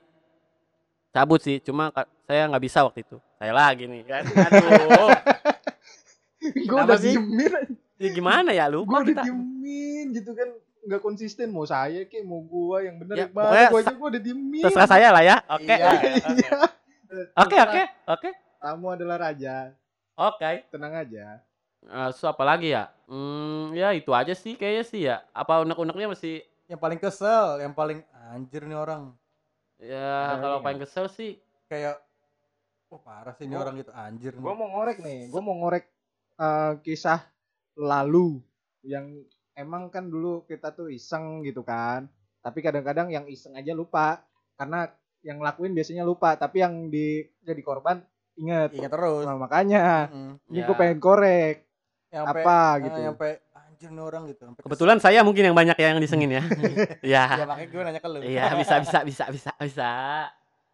cabut sih. Cuma ka- saya nggak bisa waktu itu. Saya lagi nih kan. Aduh.
gue
Kenapa
udah
sih?
diemin.
Ya gimana ya lu?
Gue udah diemin gitu kan. Gak konsisten mau saya kek mau gue yang bener
Ya,
yang mana
pokoknya
gue aja gue udah diemin.
Terserah saya lah ya. Oke.
Iya.
Oke oke oke.
Kamu adalah raja.
Oke.
Tenang aja.
Eh, so apa lagi ya? Hmm, ya itu aja sih kayaknya sih ya. Apa unek-uneknya masih
Yang paling kesel, yang paling anjir nih orang.
Ada
ya kalau
lagi
paling kesel sih
Kayak Wah parah sih ini
Gua-
orang gitu anjir nih.
Gue mau ngorek nih. Gue mau ngorek eh, kisah lalu yang emang kan dulu kita tuh iseng gitu kan. Tapi kadang-kadang yang iseng aja lupa karena yang lakuin biasanya lupa. Tapi yang di jadi korban inget.
Ingat terus.
Nah, makanya
Mm.
ini
Ya.
gue pengen korek.
Yang sampai-
apa
ah,
gitu.
Yang sampai anjir nih orang gitu. sampai kesel.
kebetulan saya mungkin yang banyak yang disengin ya. Iya.
Ya makanya gue nanya ke lu.
Iya, bisa bisa bisa bisa bisa.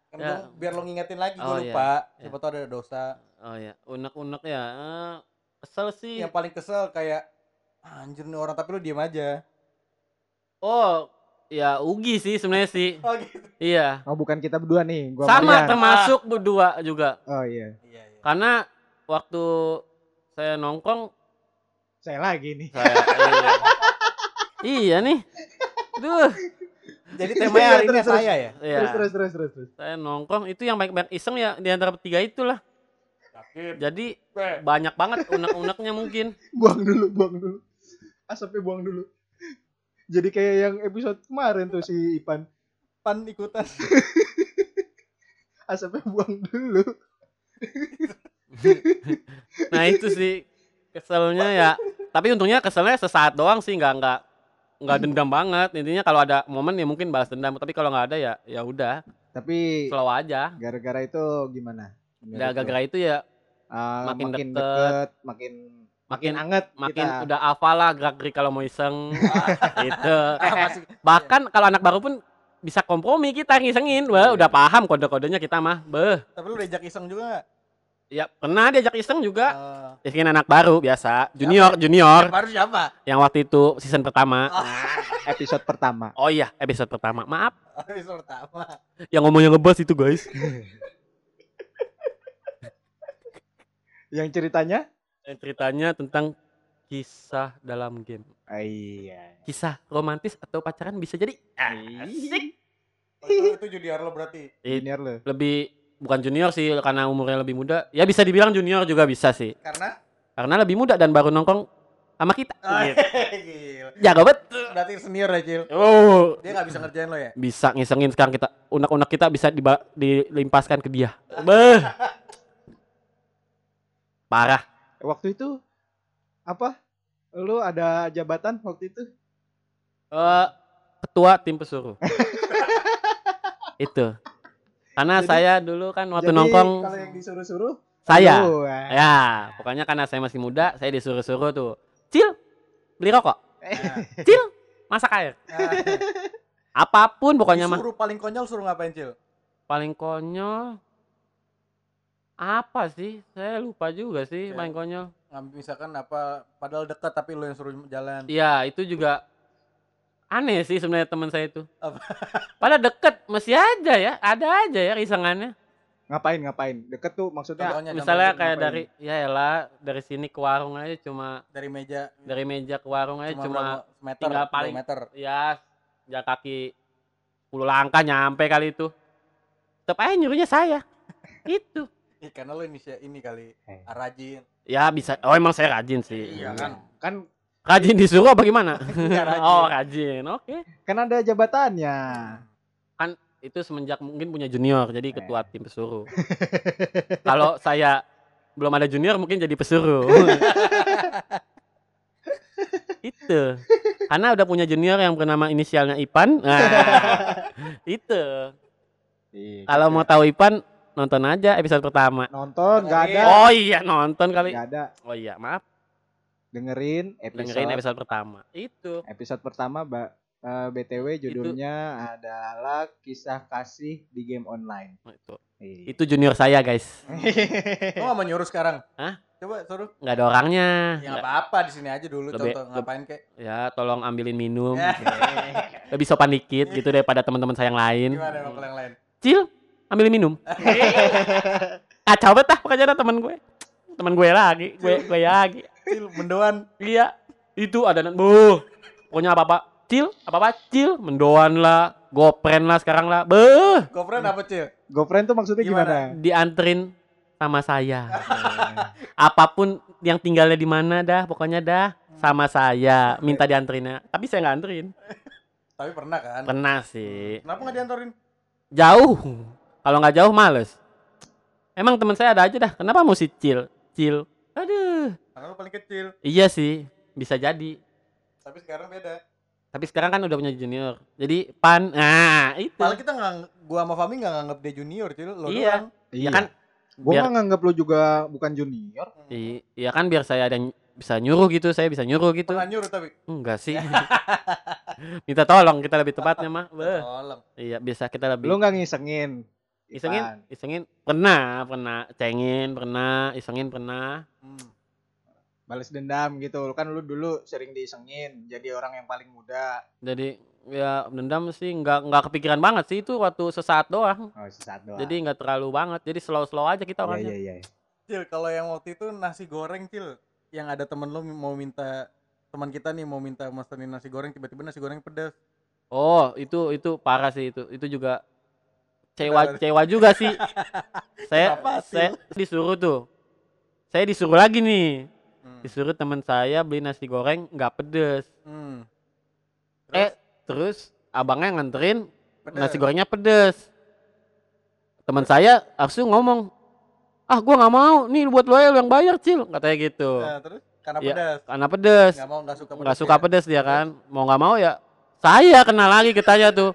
Kan
Ya.
gua- biar lo ngingetin lagi gue
Oh, iya.
lupa.
Iya.
Siapa tau ada dosa.
Oh ya, unek-unek ya. Eh, kesel sih.
Iya.
Yang paling kesel kayak anjir nih orang tapi lu diem aja.
Oh, ya Ugi sih sebenarnya sih.
Oh gitu.
Iya.
Oh bukan kita berdua nih, gua
Sama
Marian.
termasuk berdua juga.
Oh iya,
Iya iya.
Karena waktu saya nongkrong
saya lagi nih.
saya iya, Iya nih. Duh,
Jadi temanya hari ini
Terus, terus.
saya ya.
iya.
Terus terus terus terus. terus.
saya nongkrong itu yang banyak-banyak iseng ya di antara bertiga itulah. Jadi banyak banget unek-uneknya mungkin.
Buang dulu, buang dulu. Asapnya buang dulu. Jadi kayak yang episode kemarin tuh si Ipan,
Pan ikutan.
asapnya buang dulu.
Nah itu sih keselnya ya. Tapi untungnya keselnya sesaat doang sih nggak nggak nggak dendam banget. Intinya kalau ada momen ya mungkin balas dendam. Tapi kalau nggak ada ya ya udah
Tapi
slow aja.
gara-gara itu gimana? Menurut
Ya
lu?
gara-gara itu ya
Ah,
makin
makin,
deket,
deket, makin
makin
anget
makin
kita.
udah hafal lah gerak-gerik kalau mau iseng gitu.
Eh,
Ah, masih-
Bahkan kalau anak baru pun bisa kompromi kita ngisengin. Wah,
Iya.
udah paham kode-kodenya kita mah. Beh.
Tapi lu diajak iseng juga gak?
Ya, pernah diajak iseng juga. Isengin anak baru biasa, junior, junior
baru siapa? Oh,
yang waktu itu season pertama.
episode pertama.
Oh iya, episode pertama. Maaf
Episode pertama.
yang ngomongnya ngebas itu guys
Yang ceritanya?
yang ceritanya tentang kisah dalam game
Ah, iya.
kisah romantis atau pacaran bisa jadi asik
Oh, itu, itu junior lo berarti.
It-
Junior lo.
lebih bukan junior sih karena umurnya lebih muda ya bisa dibilang junior juga bisa sih
Karena
karena lebih muda dan baru nongkrong sama kita
Iya.
Gitu.
Gila.
jago betul
Berarti senior ya, Cil.
oh
Dia gak bisa ngerjain lo ya?
bisa ngisengin sekarang kita unak-unak kita bisa diba- dilimpaskan ke dia Beuh. parah
Waktu itu apa? Lu ada jabatan waktu itu?
Eh, ketua tim pesuruh. itu. Karena
Jadi-
saya dulu kan waktu
Jadi,
nongkrong
kalau yang disuruh-suruh
saya.
lu, eh.
Ya, pokoknya karena saya masih muda, saya disuruh-suruh tuh. Cil, beli rokok,
Eh,
Nah,
masak air.
nah,
Apapun pokoknya mah.
Suruh paling konyol suruh ngapain, Cil?
Paling konyol apa sih? Saya lupa juga
Ya.
sih paling konyol.
Iya. Ngambil misalkan apa padahal dekat tapi lo yang suruh jalan.
Iya, itu juga Ya, Aneh sih sebenarnya teman saya itu.
Apa?
Pada deket masih aja ya, ada aja ya risangannya.
Ngapain ngapain? Deket tuh
Ya.
maksudnya
Contohnya,
Misalnya
contohnya
kayak
ngapain?
dari ya elah dari sini ke warung aja cuma
dari meja
dari meja ke warung
Iya,
aja
Ya.
cuma
berapa meter,
tinggal
dua
paling-
meter.
ya jalan kaki 10 langkah nyampe kali itu tetap aja nyuruhnya saya itu
Ih, karena lo ini ini kali
Eh.
rajin.
ya bisa oh emang saya rajin sih
Iya kan?
kan
rajin disuruh apa gimana
Iya, rajin.
oh rajin oke
kan ada jabatannya.
Nah.
itu semenjak mungkin punya junior
Eh.
jadi ketua tim pesuruh kalau saya belum ada junior mungkin jadi pesuruh itu karena udah punya junior yang bernama inisialnya Ipan nah, itu
Iya,
kalau
gitu.
mau tahu Ipan nonton aja episode pertama
nonton nggak
Ya.
ada,
Oh iya nonton kali.
nggak ada.
Oh iya maaf
Dengerin episode
dengerin episode pertama. Itu
episode pertama Mbak Eh, BTW judulnya adalah kisah kasih di game online.
itu
Iya.
itu junior saya guys.
Lo gak mau nyuruh sekarang?
Hah?
Coba suruh.
Nggak ada orangnya.
Ya nggak apa-apa di sini aja dulu
Lebih-
contoh
leb-
ngapain kek.
Ya tolong ambilin minum.
Ya.
Lebih sopan dikit gitu daripada teman-teman saya yang lain.
Gimana sama kalau yang lain?
Cil ambilin minum. Kacau banget ah pekerjaan teman gue. Teman gue lagi, gue gue lagi.
Cil, mendoan.
Iya, itu ada bu. Pokoknya apa-apa Cil, apa-apa Cil, mendoan lah, gopren lah sekarang lah. Beuh,
Gopren apa Cil?
GoFriend tuh maksudnya gimana?
dianterin sama saya. apapun yang tinggalnya di mana dah pokoknya dah sama saya minta dianterinnya tapi saya nggak anterin
Tapi pernah kan?
pernah sih
Kenapa nggak diantarin?
jauh kalau nggak jauh males emang teman saya ada aja dah kenapa mesti cil cil aduh
Karena lo paling kecil.
iya sih bisa jadi
Tapi sekarang beda.
tapi sekarang kan udah punya junior jadi pan nah itu
Paling kita nggak, gua sama Fami nggak nganggap dia junior Cil. Lo
Iya.
doang.
ya kan
Gue
biar-
mah nganggap lu juga bukan junior.
Hmm.
i- ya kan biar saya ada yang bisa nyuruh gitu saya bisa nyuruh gitu
Pernah nyuruh tapi.
enggak sih minta tolong kita lebih tepatnya mah Beuh.
Tolong.
iya bisa kita lebih
Lu nggak ngisengin.
Isengin,
Ipan.
isengin pernah, pernah cengin, pernah, isengin pernah.
Hmm.
Balas dendam gitu. Lu kan lu dulu sering diisengin jadi orang yang paling muda.
Jadi ya dendam sih nggak nggak kepikiran banget sih itu waktu sesaat doang.
Oh, sesaat doang.
Jadi nggak terlalu banget. Jadi slow-slow aja
Iya,
kita orangnya.
iya, iya.
Cil, kalau yang waktu itu nasi goreng Cil. Yang ada temen lo mau minta teman kita nih mau minta masakin nasi goreng tiba-tiba nasi goreng pedas
Oh, itu itu parah sih itu. Itu juga
Kenapa?
cewa cewa juga sih. saya
Kenapa,
saya disuruh tuh. Saya disuruh lagi nih.
hmm.
Disuruh teman saya beli nasi goreng nggak pedes.
Hmm.
Eh, terus abangnya nganterin
Pedas.
nasi gorengnya pedes. Teman saya langsung ngomong, ah gua nggak mau, nih buat lo ya lo yang bayar cil, katanya gitu.
Nah, terus karena
Iya.
pedas
Karena pedes,
nggak mau ya. nggak suka
nggak suka pedes dia kan, mau nggak mau ya saya kena lagi ketanya tuh.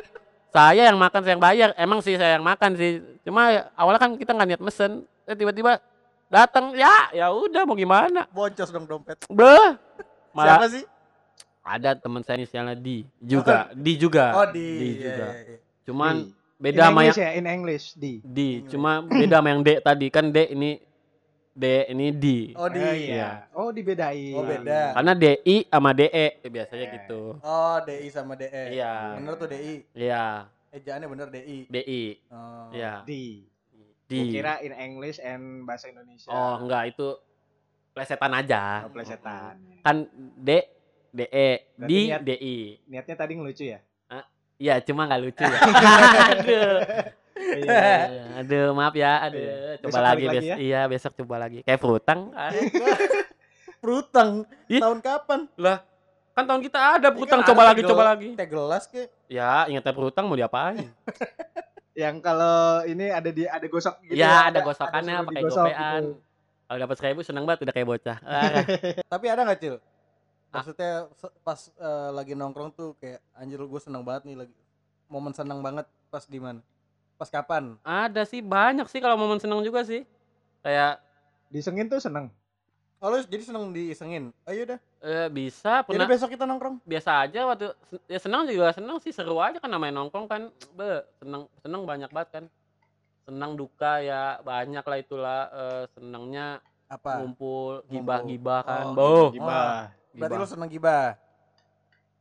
Saya yang makan, saya yang bayar. Emang sih saya yang makan sih. Cuma ya, awalnya kan kita nggak niat mesen, eh, tiba-tiba datang ya ya udah mau gimana
Iya. boncos dong dompet
beh malah
siapa sih
ada teman saya inisialnya di juga di juga
oh di,
Di
iya,
juga
iya, iya.
cuman
Di.
beda
in
sama yang
English ya, in English di.
D
Anyway.
cuma beda sama yang D tadi kan D ini D ini D
oh di
Eh,
Iya.
Oh, dibedain.
Oh, beda.
karena DI sama DE ya, biasanya
Iya.
gitu
oh DI sama DE
iya
bener tuh DI
iya
ejaannya bener DI
DI
oh.
iya
Di.
D
Gua kira in English and bahasa Indonesia.
oh enggak itu plesetan aja
Oh, plesetan.
kan D DE D
Berarti niat-
DI
Niatnya tadi ngelucu ya?
ya cuma nggak lucu ya aduh Iya, aduh maaf ya aduh
Iya.
coba
Besok balik
lagi,
lagi
bes-
ya.
iya besok coba lagi kayak frutang
Prutang
Ih.
tahun kapan
kan tahun kita
frutang.
ada frutang
Coba
coba
lagi,
lagi coba
coba
lagi
teh gelas ke
ya ingatnya frutang mau diapain
Yang kalau ini ada di ada gosok gitu.
kan,
ya ada gosokannya
suruh
pakai
digosok
gopean.
gitu.
Kalau dapat seribu seneng banget udah kayak bocah. Ah,
tapi ada nggak cil
Ah.
maksudnya se- pas eh, lagi nongkrong tuh kayak anjir gue seneng banget nih lagi momen seneng banget pas di mana pas kapan
ada sih banyak sih kalau momen seneng juga sih. Kayak
Disengin tuh seneng.
oh lu jadi seneng diisengin Oh, iya ayo dah
eh, bisa
jadi Ya
pernah
besok kita nongkrong
biasa aja waktu sen- ya seneng juga seneng sih seru aja kan namanya nongkrong kan be seneng seneng banyak banget kan senang duka ya banyak lah itulah eh, senangnya
apa
ngumpul
Ngumpul.
gibah gibah kan
Oh,
Boh,
Gibah.
berarti lu
gibah.
seneng gibah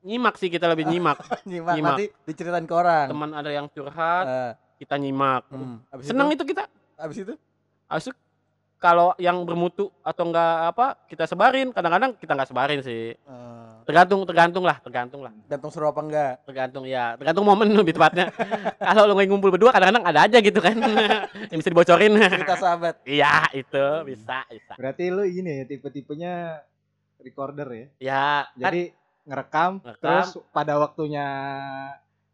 nyimak sih kita lebih nyimak
nyimak,
Nyimak.
nanti diceritain ke orang
teman ada yang curhat
Eh,
kita nyimak
hmm. abis
seneng
itu,
itu kita
abis itu
Habis itu kalau yang bermutu atau enggak apa kita sebarin kadang-kadang kita nggak sebarin sih
eh,
tergantung tergantung lah tergantung lah
gantung seru apa enggak
tergantung ya tergantung momen lebih tepatnya kalau lo nggak ngumpul berdua kadang-kadang ada aja gitu kan yang bisa dibocorin
cerita sahabat
iya itu bisa bisa
Berarti lu ini ya, tipe-tipenya recorder ya.
ya kan
Jadi ngerekam,
Ngerekam.
terus pada waktunya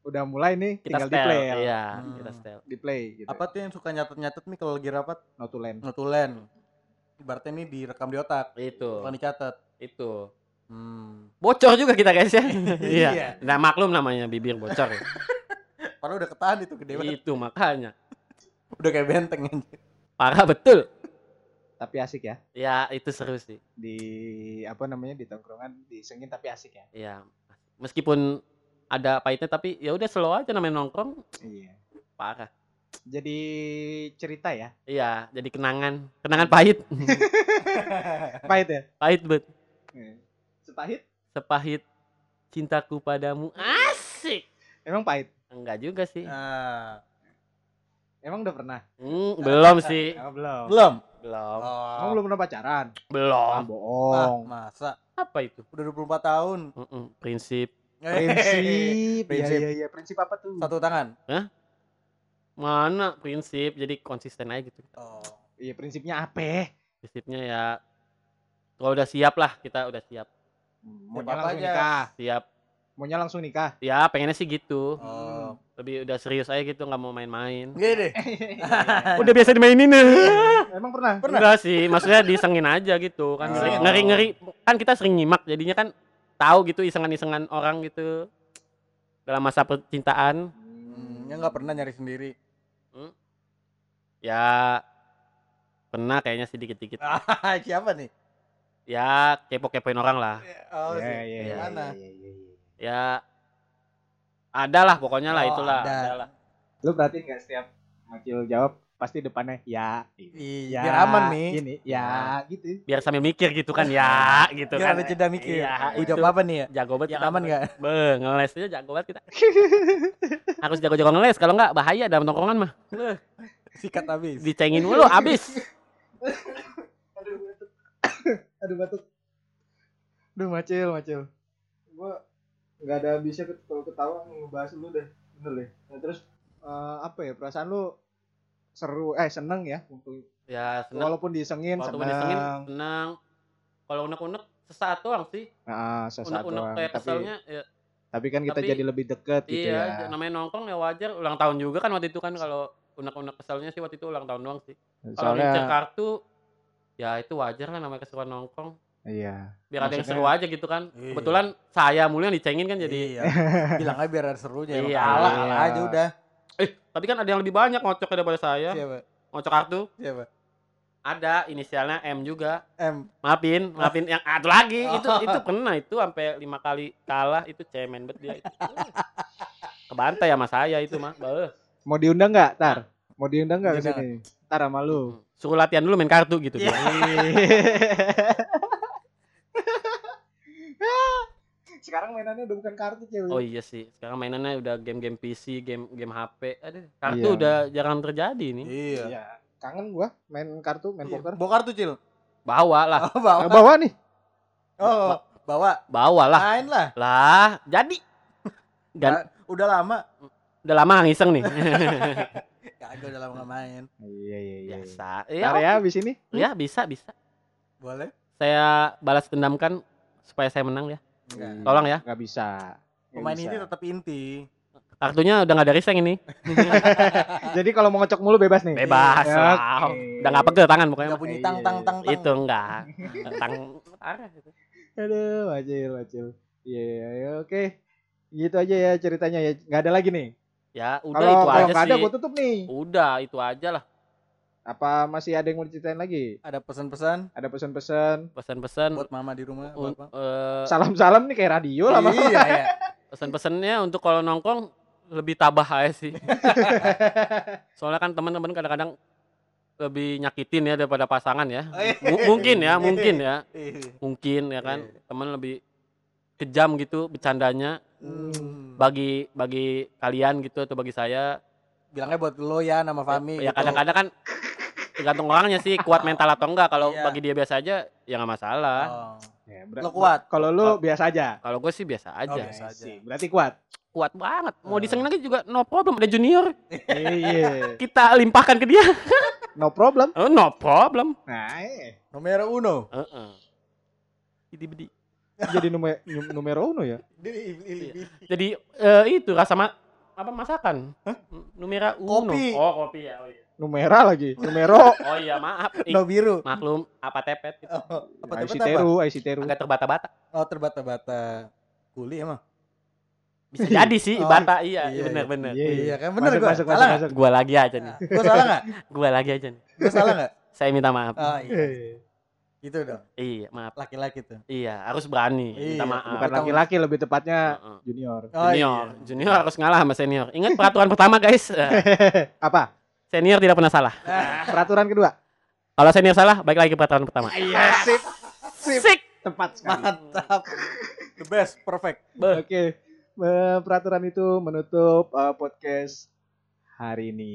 udah mulai nih
kita
tinggal
setel
di play.
iya
Hmm.
kita setel
Di play gitu.
apa tuh yang suka nyatet-nyatet nih kalau lagi rapat
Notulen.
notulen ibaratnya ini direkam di otak
itu
bukan dicatat
itu
hmm.
bocor juga kita guys ya iya nah maklum namanya bibir bocor
padahal udah ketahan itu gede banget
itu makanya
udah kayak benteng aja
parah betul
Tapi asik ya.
ya itu seru sih
Di apa namanya di tongkrongan disengin tapi asik ya.
ya meskipun ada pahitnya tapi ya udah slow aja namanya nongkrong
Iya.
parah
Jadi cerita ya.
iya jadi kenangan kenangan pahit
Pahit ya.
pahit bet
Iya. Sepahit?
sepahit cintaku padamu asik
Emang pahit.
enggak juga sih
Ah,
Emang udah pernah?
Hmm, belum sih
Ah, belum.
belum
belum
Emang
oh,
belum pernah pacaran? Ah,
belum
ah,
bohong.
masa
apa itu
udah 24 tahun
Mm-mm, prinsip
Prinsip. Iya,
Prinsip.
iya, iya. Prinsip apa tuh?
satu tangan
mana prinsip jadi konsisten aja gitu
oh.
Iya, prinsipnya apa?
prinsipnya ya kalau udah siap lah kita udah siap
apa
Maunya langsung
aja.
nikah.
siap
Maunya langsung nikah.
ya pengennya sih gitu
Oh.
lebih udah serius aja gitu nggak mau main-main
Gini deh.
udah biasa dimainin
Emang pernah?
Pernah?
enggak sih maksudnya disengin aja gitu kan
Oh.
ngeri ngeri kan kita sering nyimak jadinya kan tahu gitu isengan-isengan orang gitu dalam masa percintaan
Hmm, yang nggak pernah nyari sendiri.
ya pernah kayaknya sedikit-sedikit
Ah, siapa nih?
ya kepo-kepoin orang lah
Oh, si-
Iya, iya,
iya,
Mana?
iya, iya, iya.
ya ada lah pokoknya lah
Oh,
itulah
ada.
ada lah.
Lu berarti nggak setiap Macil jawab pasti depannya ya.
Iya, biar aman Nah. nih.
Gini, ya gitu.
biar sambil mikir gitu kan ya gitu
Biar
kan
ada jeda mikir.
Iya,
Gua
itu.
jawab apa nih ya?
jago banget
Yang
kita.
aman nggak?
Be, ngeles aja jago banget kita harus jago-jago ngeles kalau nggak bahaya dalam tongkrongan mah
Sikat habis.
dicengin mulu abis
Aduh batuk. Aduh batuk. Aduh Macil, Macil. Gua nggak ada bisa kalau ketawa ngebahas lu deh. Bener deh. Nah, terus eh, apa ya perasaan lu seru eh seneng ya untuk
ya senang
walaupun disengin Kan
waktu
seneng
disengin senang kalau unek-unek sesaat doang sih
nah, sesaat
unek-unek
doang.
kayak
tapi
keselnya ya,
tapi kan kita
tapi-
jadi lebih deket gitu ya
iya namanya nongkrong ya wajar ulang tahun juga kan waktu itu kan kalau unek-unek keselnya sih waktu itu ulang tahun doang sih kalau ngincer
soalnya
kartu ya itu wajar lah namanya keseruan nongkrong
iya
biar ada yang
Maksudnya-
seru aja gitu kan
Iya.
kebetulan saya mulu yang dicengin kan jadi
Iya. Bilang aja biar ada serunya. Emang
Iya.
Kalah, kalah aja
Iya.
udah.
eh tapi kan ada yang lebih banyak ngocok daripada saya
Siapa?
ngocok kartu
Siapa?
ada inisialnya M juga
M.
maafin maafin yang ada lagi
Oh.
itu itu pernah itu sampai lima kali kalah itu cemen bet dia itu. kebantai sama saya itu mah Beuh.
mau diundang nggak tar mau diundang nggak ke
Diundang.
sini tar sama lu
suruh latihan dulu main kartu gitu
Iya.
dia.
sekarang mainannya udah bukan kartu cewek
oh iya sih sekarang mainannya udah game-game PC game game HP aduh kartu
Iya.
udah jarang terjadi nih
Iya.
iya kangen gua main kartu main
Iya.
poker
Bokar tuh, Cil.
bawa lah
Oh, bawa.
Nah, bawa nih
Oh, bawa.
bawa lah
Main lah.
lah jadi dan
Ah, Udah lama.
udah lama nggak ngiseng nih
Iya. Kagak udah lama nggak main.
iya iya
biasa
tar
ya,
ya abis ini
ya bisa bisa
Boleh?
saya balas dendamkan supaya saya menang ya
Enggak.
tolong ya
nggak bisa Nggak
Pemain
bisa.
inti tetap inti.
kartunya udah nggak dari seng ini
jadi kalau mau ngecok mulu bebas nih Iya,
bebas
Oke.
lah udah nggak pegel tangan pokoknya
Enggak
mah.
bunyi
iya,
tang tang
iya.
tang tang.
itu enggak tang parah
gitu.
itu.
aduh wajil wajil iya iya, iya, oke gitu aja ya ceritanya ya nggak ada lagi nih
ya udah
kalau
itu
kalau
aja
nggak ada
sih
gua tutup nih
udah itu aja lah
apa masih ada yang mau diceritain lagi
Ada pesan-pesan
ada pesan-pesan
pesan-pesan
buat mama di rumah
un-
apa?
eh,
salam-salam nih kayak radio lah Bang.
Iya, ya.
pesan-pesannya untuk kalau nongkrong lebih tabah aja sih soalnya kan teman-teman kadang-kadang lebih nyakitin ya daripada pasangan ya M- mungkin ya mungkin ya
Iya.
mungkin ya kan
Iya.
teman lebih kejam gitu bercandanya
Hmm.
bagi bagi kalian gitu atau bagi saya
bilangnya buat lo ya nama Fami
ya
gitu.
kadang-kadang kan tergantung orangnya sih kuat mental atau enggak kalau
Iya.
bagi dia biasa aja ya nggak masalah
Oh.
Ya,
Lo kuat.
Kalau lu biasa aja.
kalau gue sih biasa aja
I
Biasa aja.
see. Berarti kuat.
kuat banget mau
Eh.
disengin lagi juga no problem ada junior
Iya.
kita limpahkan ke dia
No problem.
oh, no problem
Nah, eh.
Nomor uno.
Heeh. Jadi
jadi nume- num- numero uno ya.
Dia pilih-
jadi eh, itu rasa ma- apa masakan? Numera uno.
Kopi.
Oh, kopi ya. Oh iya,
Numera lagi. Numero.
oh, iya maaf. Ih,
No biru.
maklum apa tepet itu.
Oh, apa
IC
tepat apa?
Teru, IC Teru.
Agak terbata-bata.
Oh terbata-bata. Kuli emang.
Bisa jadi sih
Oh,
bata iya,
iya,
bener bener.
Iya, iya.
Iya kan bener
Masuk,
gua.
masuk,
salah
masuk,
nggak?
masuk.
Gua lagi aja nih.
Gua salah nggak?
Gua lagi aja nih.
Gua salah nggak?
Saya minta maaf.
Oh, iya.
Eh,
Gitu dong.
Iya, maaf.
Laki-laki tuh.
Iya, harus berani.
Iya,
Minta maaf.
Bukan
Kita-
laki-laki lebih tepatnya
Heeh.
junior.
Oh,
junior,
iya.
junior harus ngalah sama senior. Ingat peraturan pertama, guys. Eh,
Apa?
Senior tidak pernah salah.
Nah,
Peraturan kedua.
Kalau senior salah, balik lagi ke peraturan pertama.
Iya, sip. Sip.
Sik.
Tepat sekali.
mantap. The best, perfect.
Oke, eh, peraturan itu menutup eh, podcast hari ini.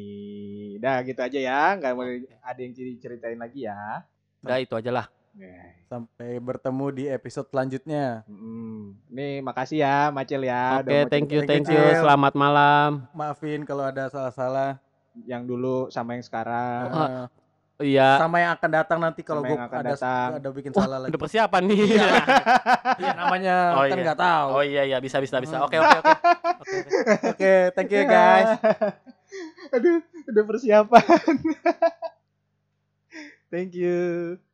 Dah gitu aja ya, nggak mau ada yang ceritain lagi ya.
Udah itu aja lah.
Nah,
Sampai bertemu di episode selanjutnya.
mm, Ini makasih ya, Macil ya.
Oke,
udah mau
thank you,
thank
thank
you.
you. Selamat malam.
Maafin kalau ada salah-salah.
cerita Yang dulu sama yang sekarang.
Ah,
Eh,
Iya.
sama yang akan datang nanti kalau
Sama
gue
yang akan
ada
datang.
ada bikin
Wah,
salah lagi.
udah persiapan nih.
Iya, namanya
Oh,
kan
iya.
nggak tahu.
oh iya iya bisa bisa bisa. Oke oke oke. Oke, oke.
Oke, thank you guys.
Aduh, udah persiapan. thank you.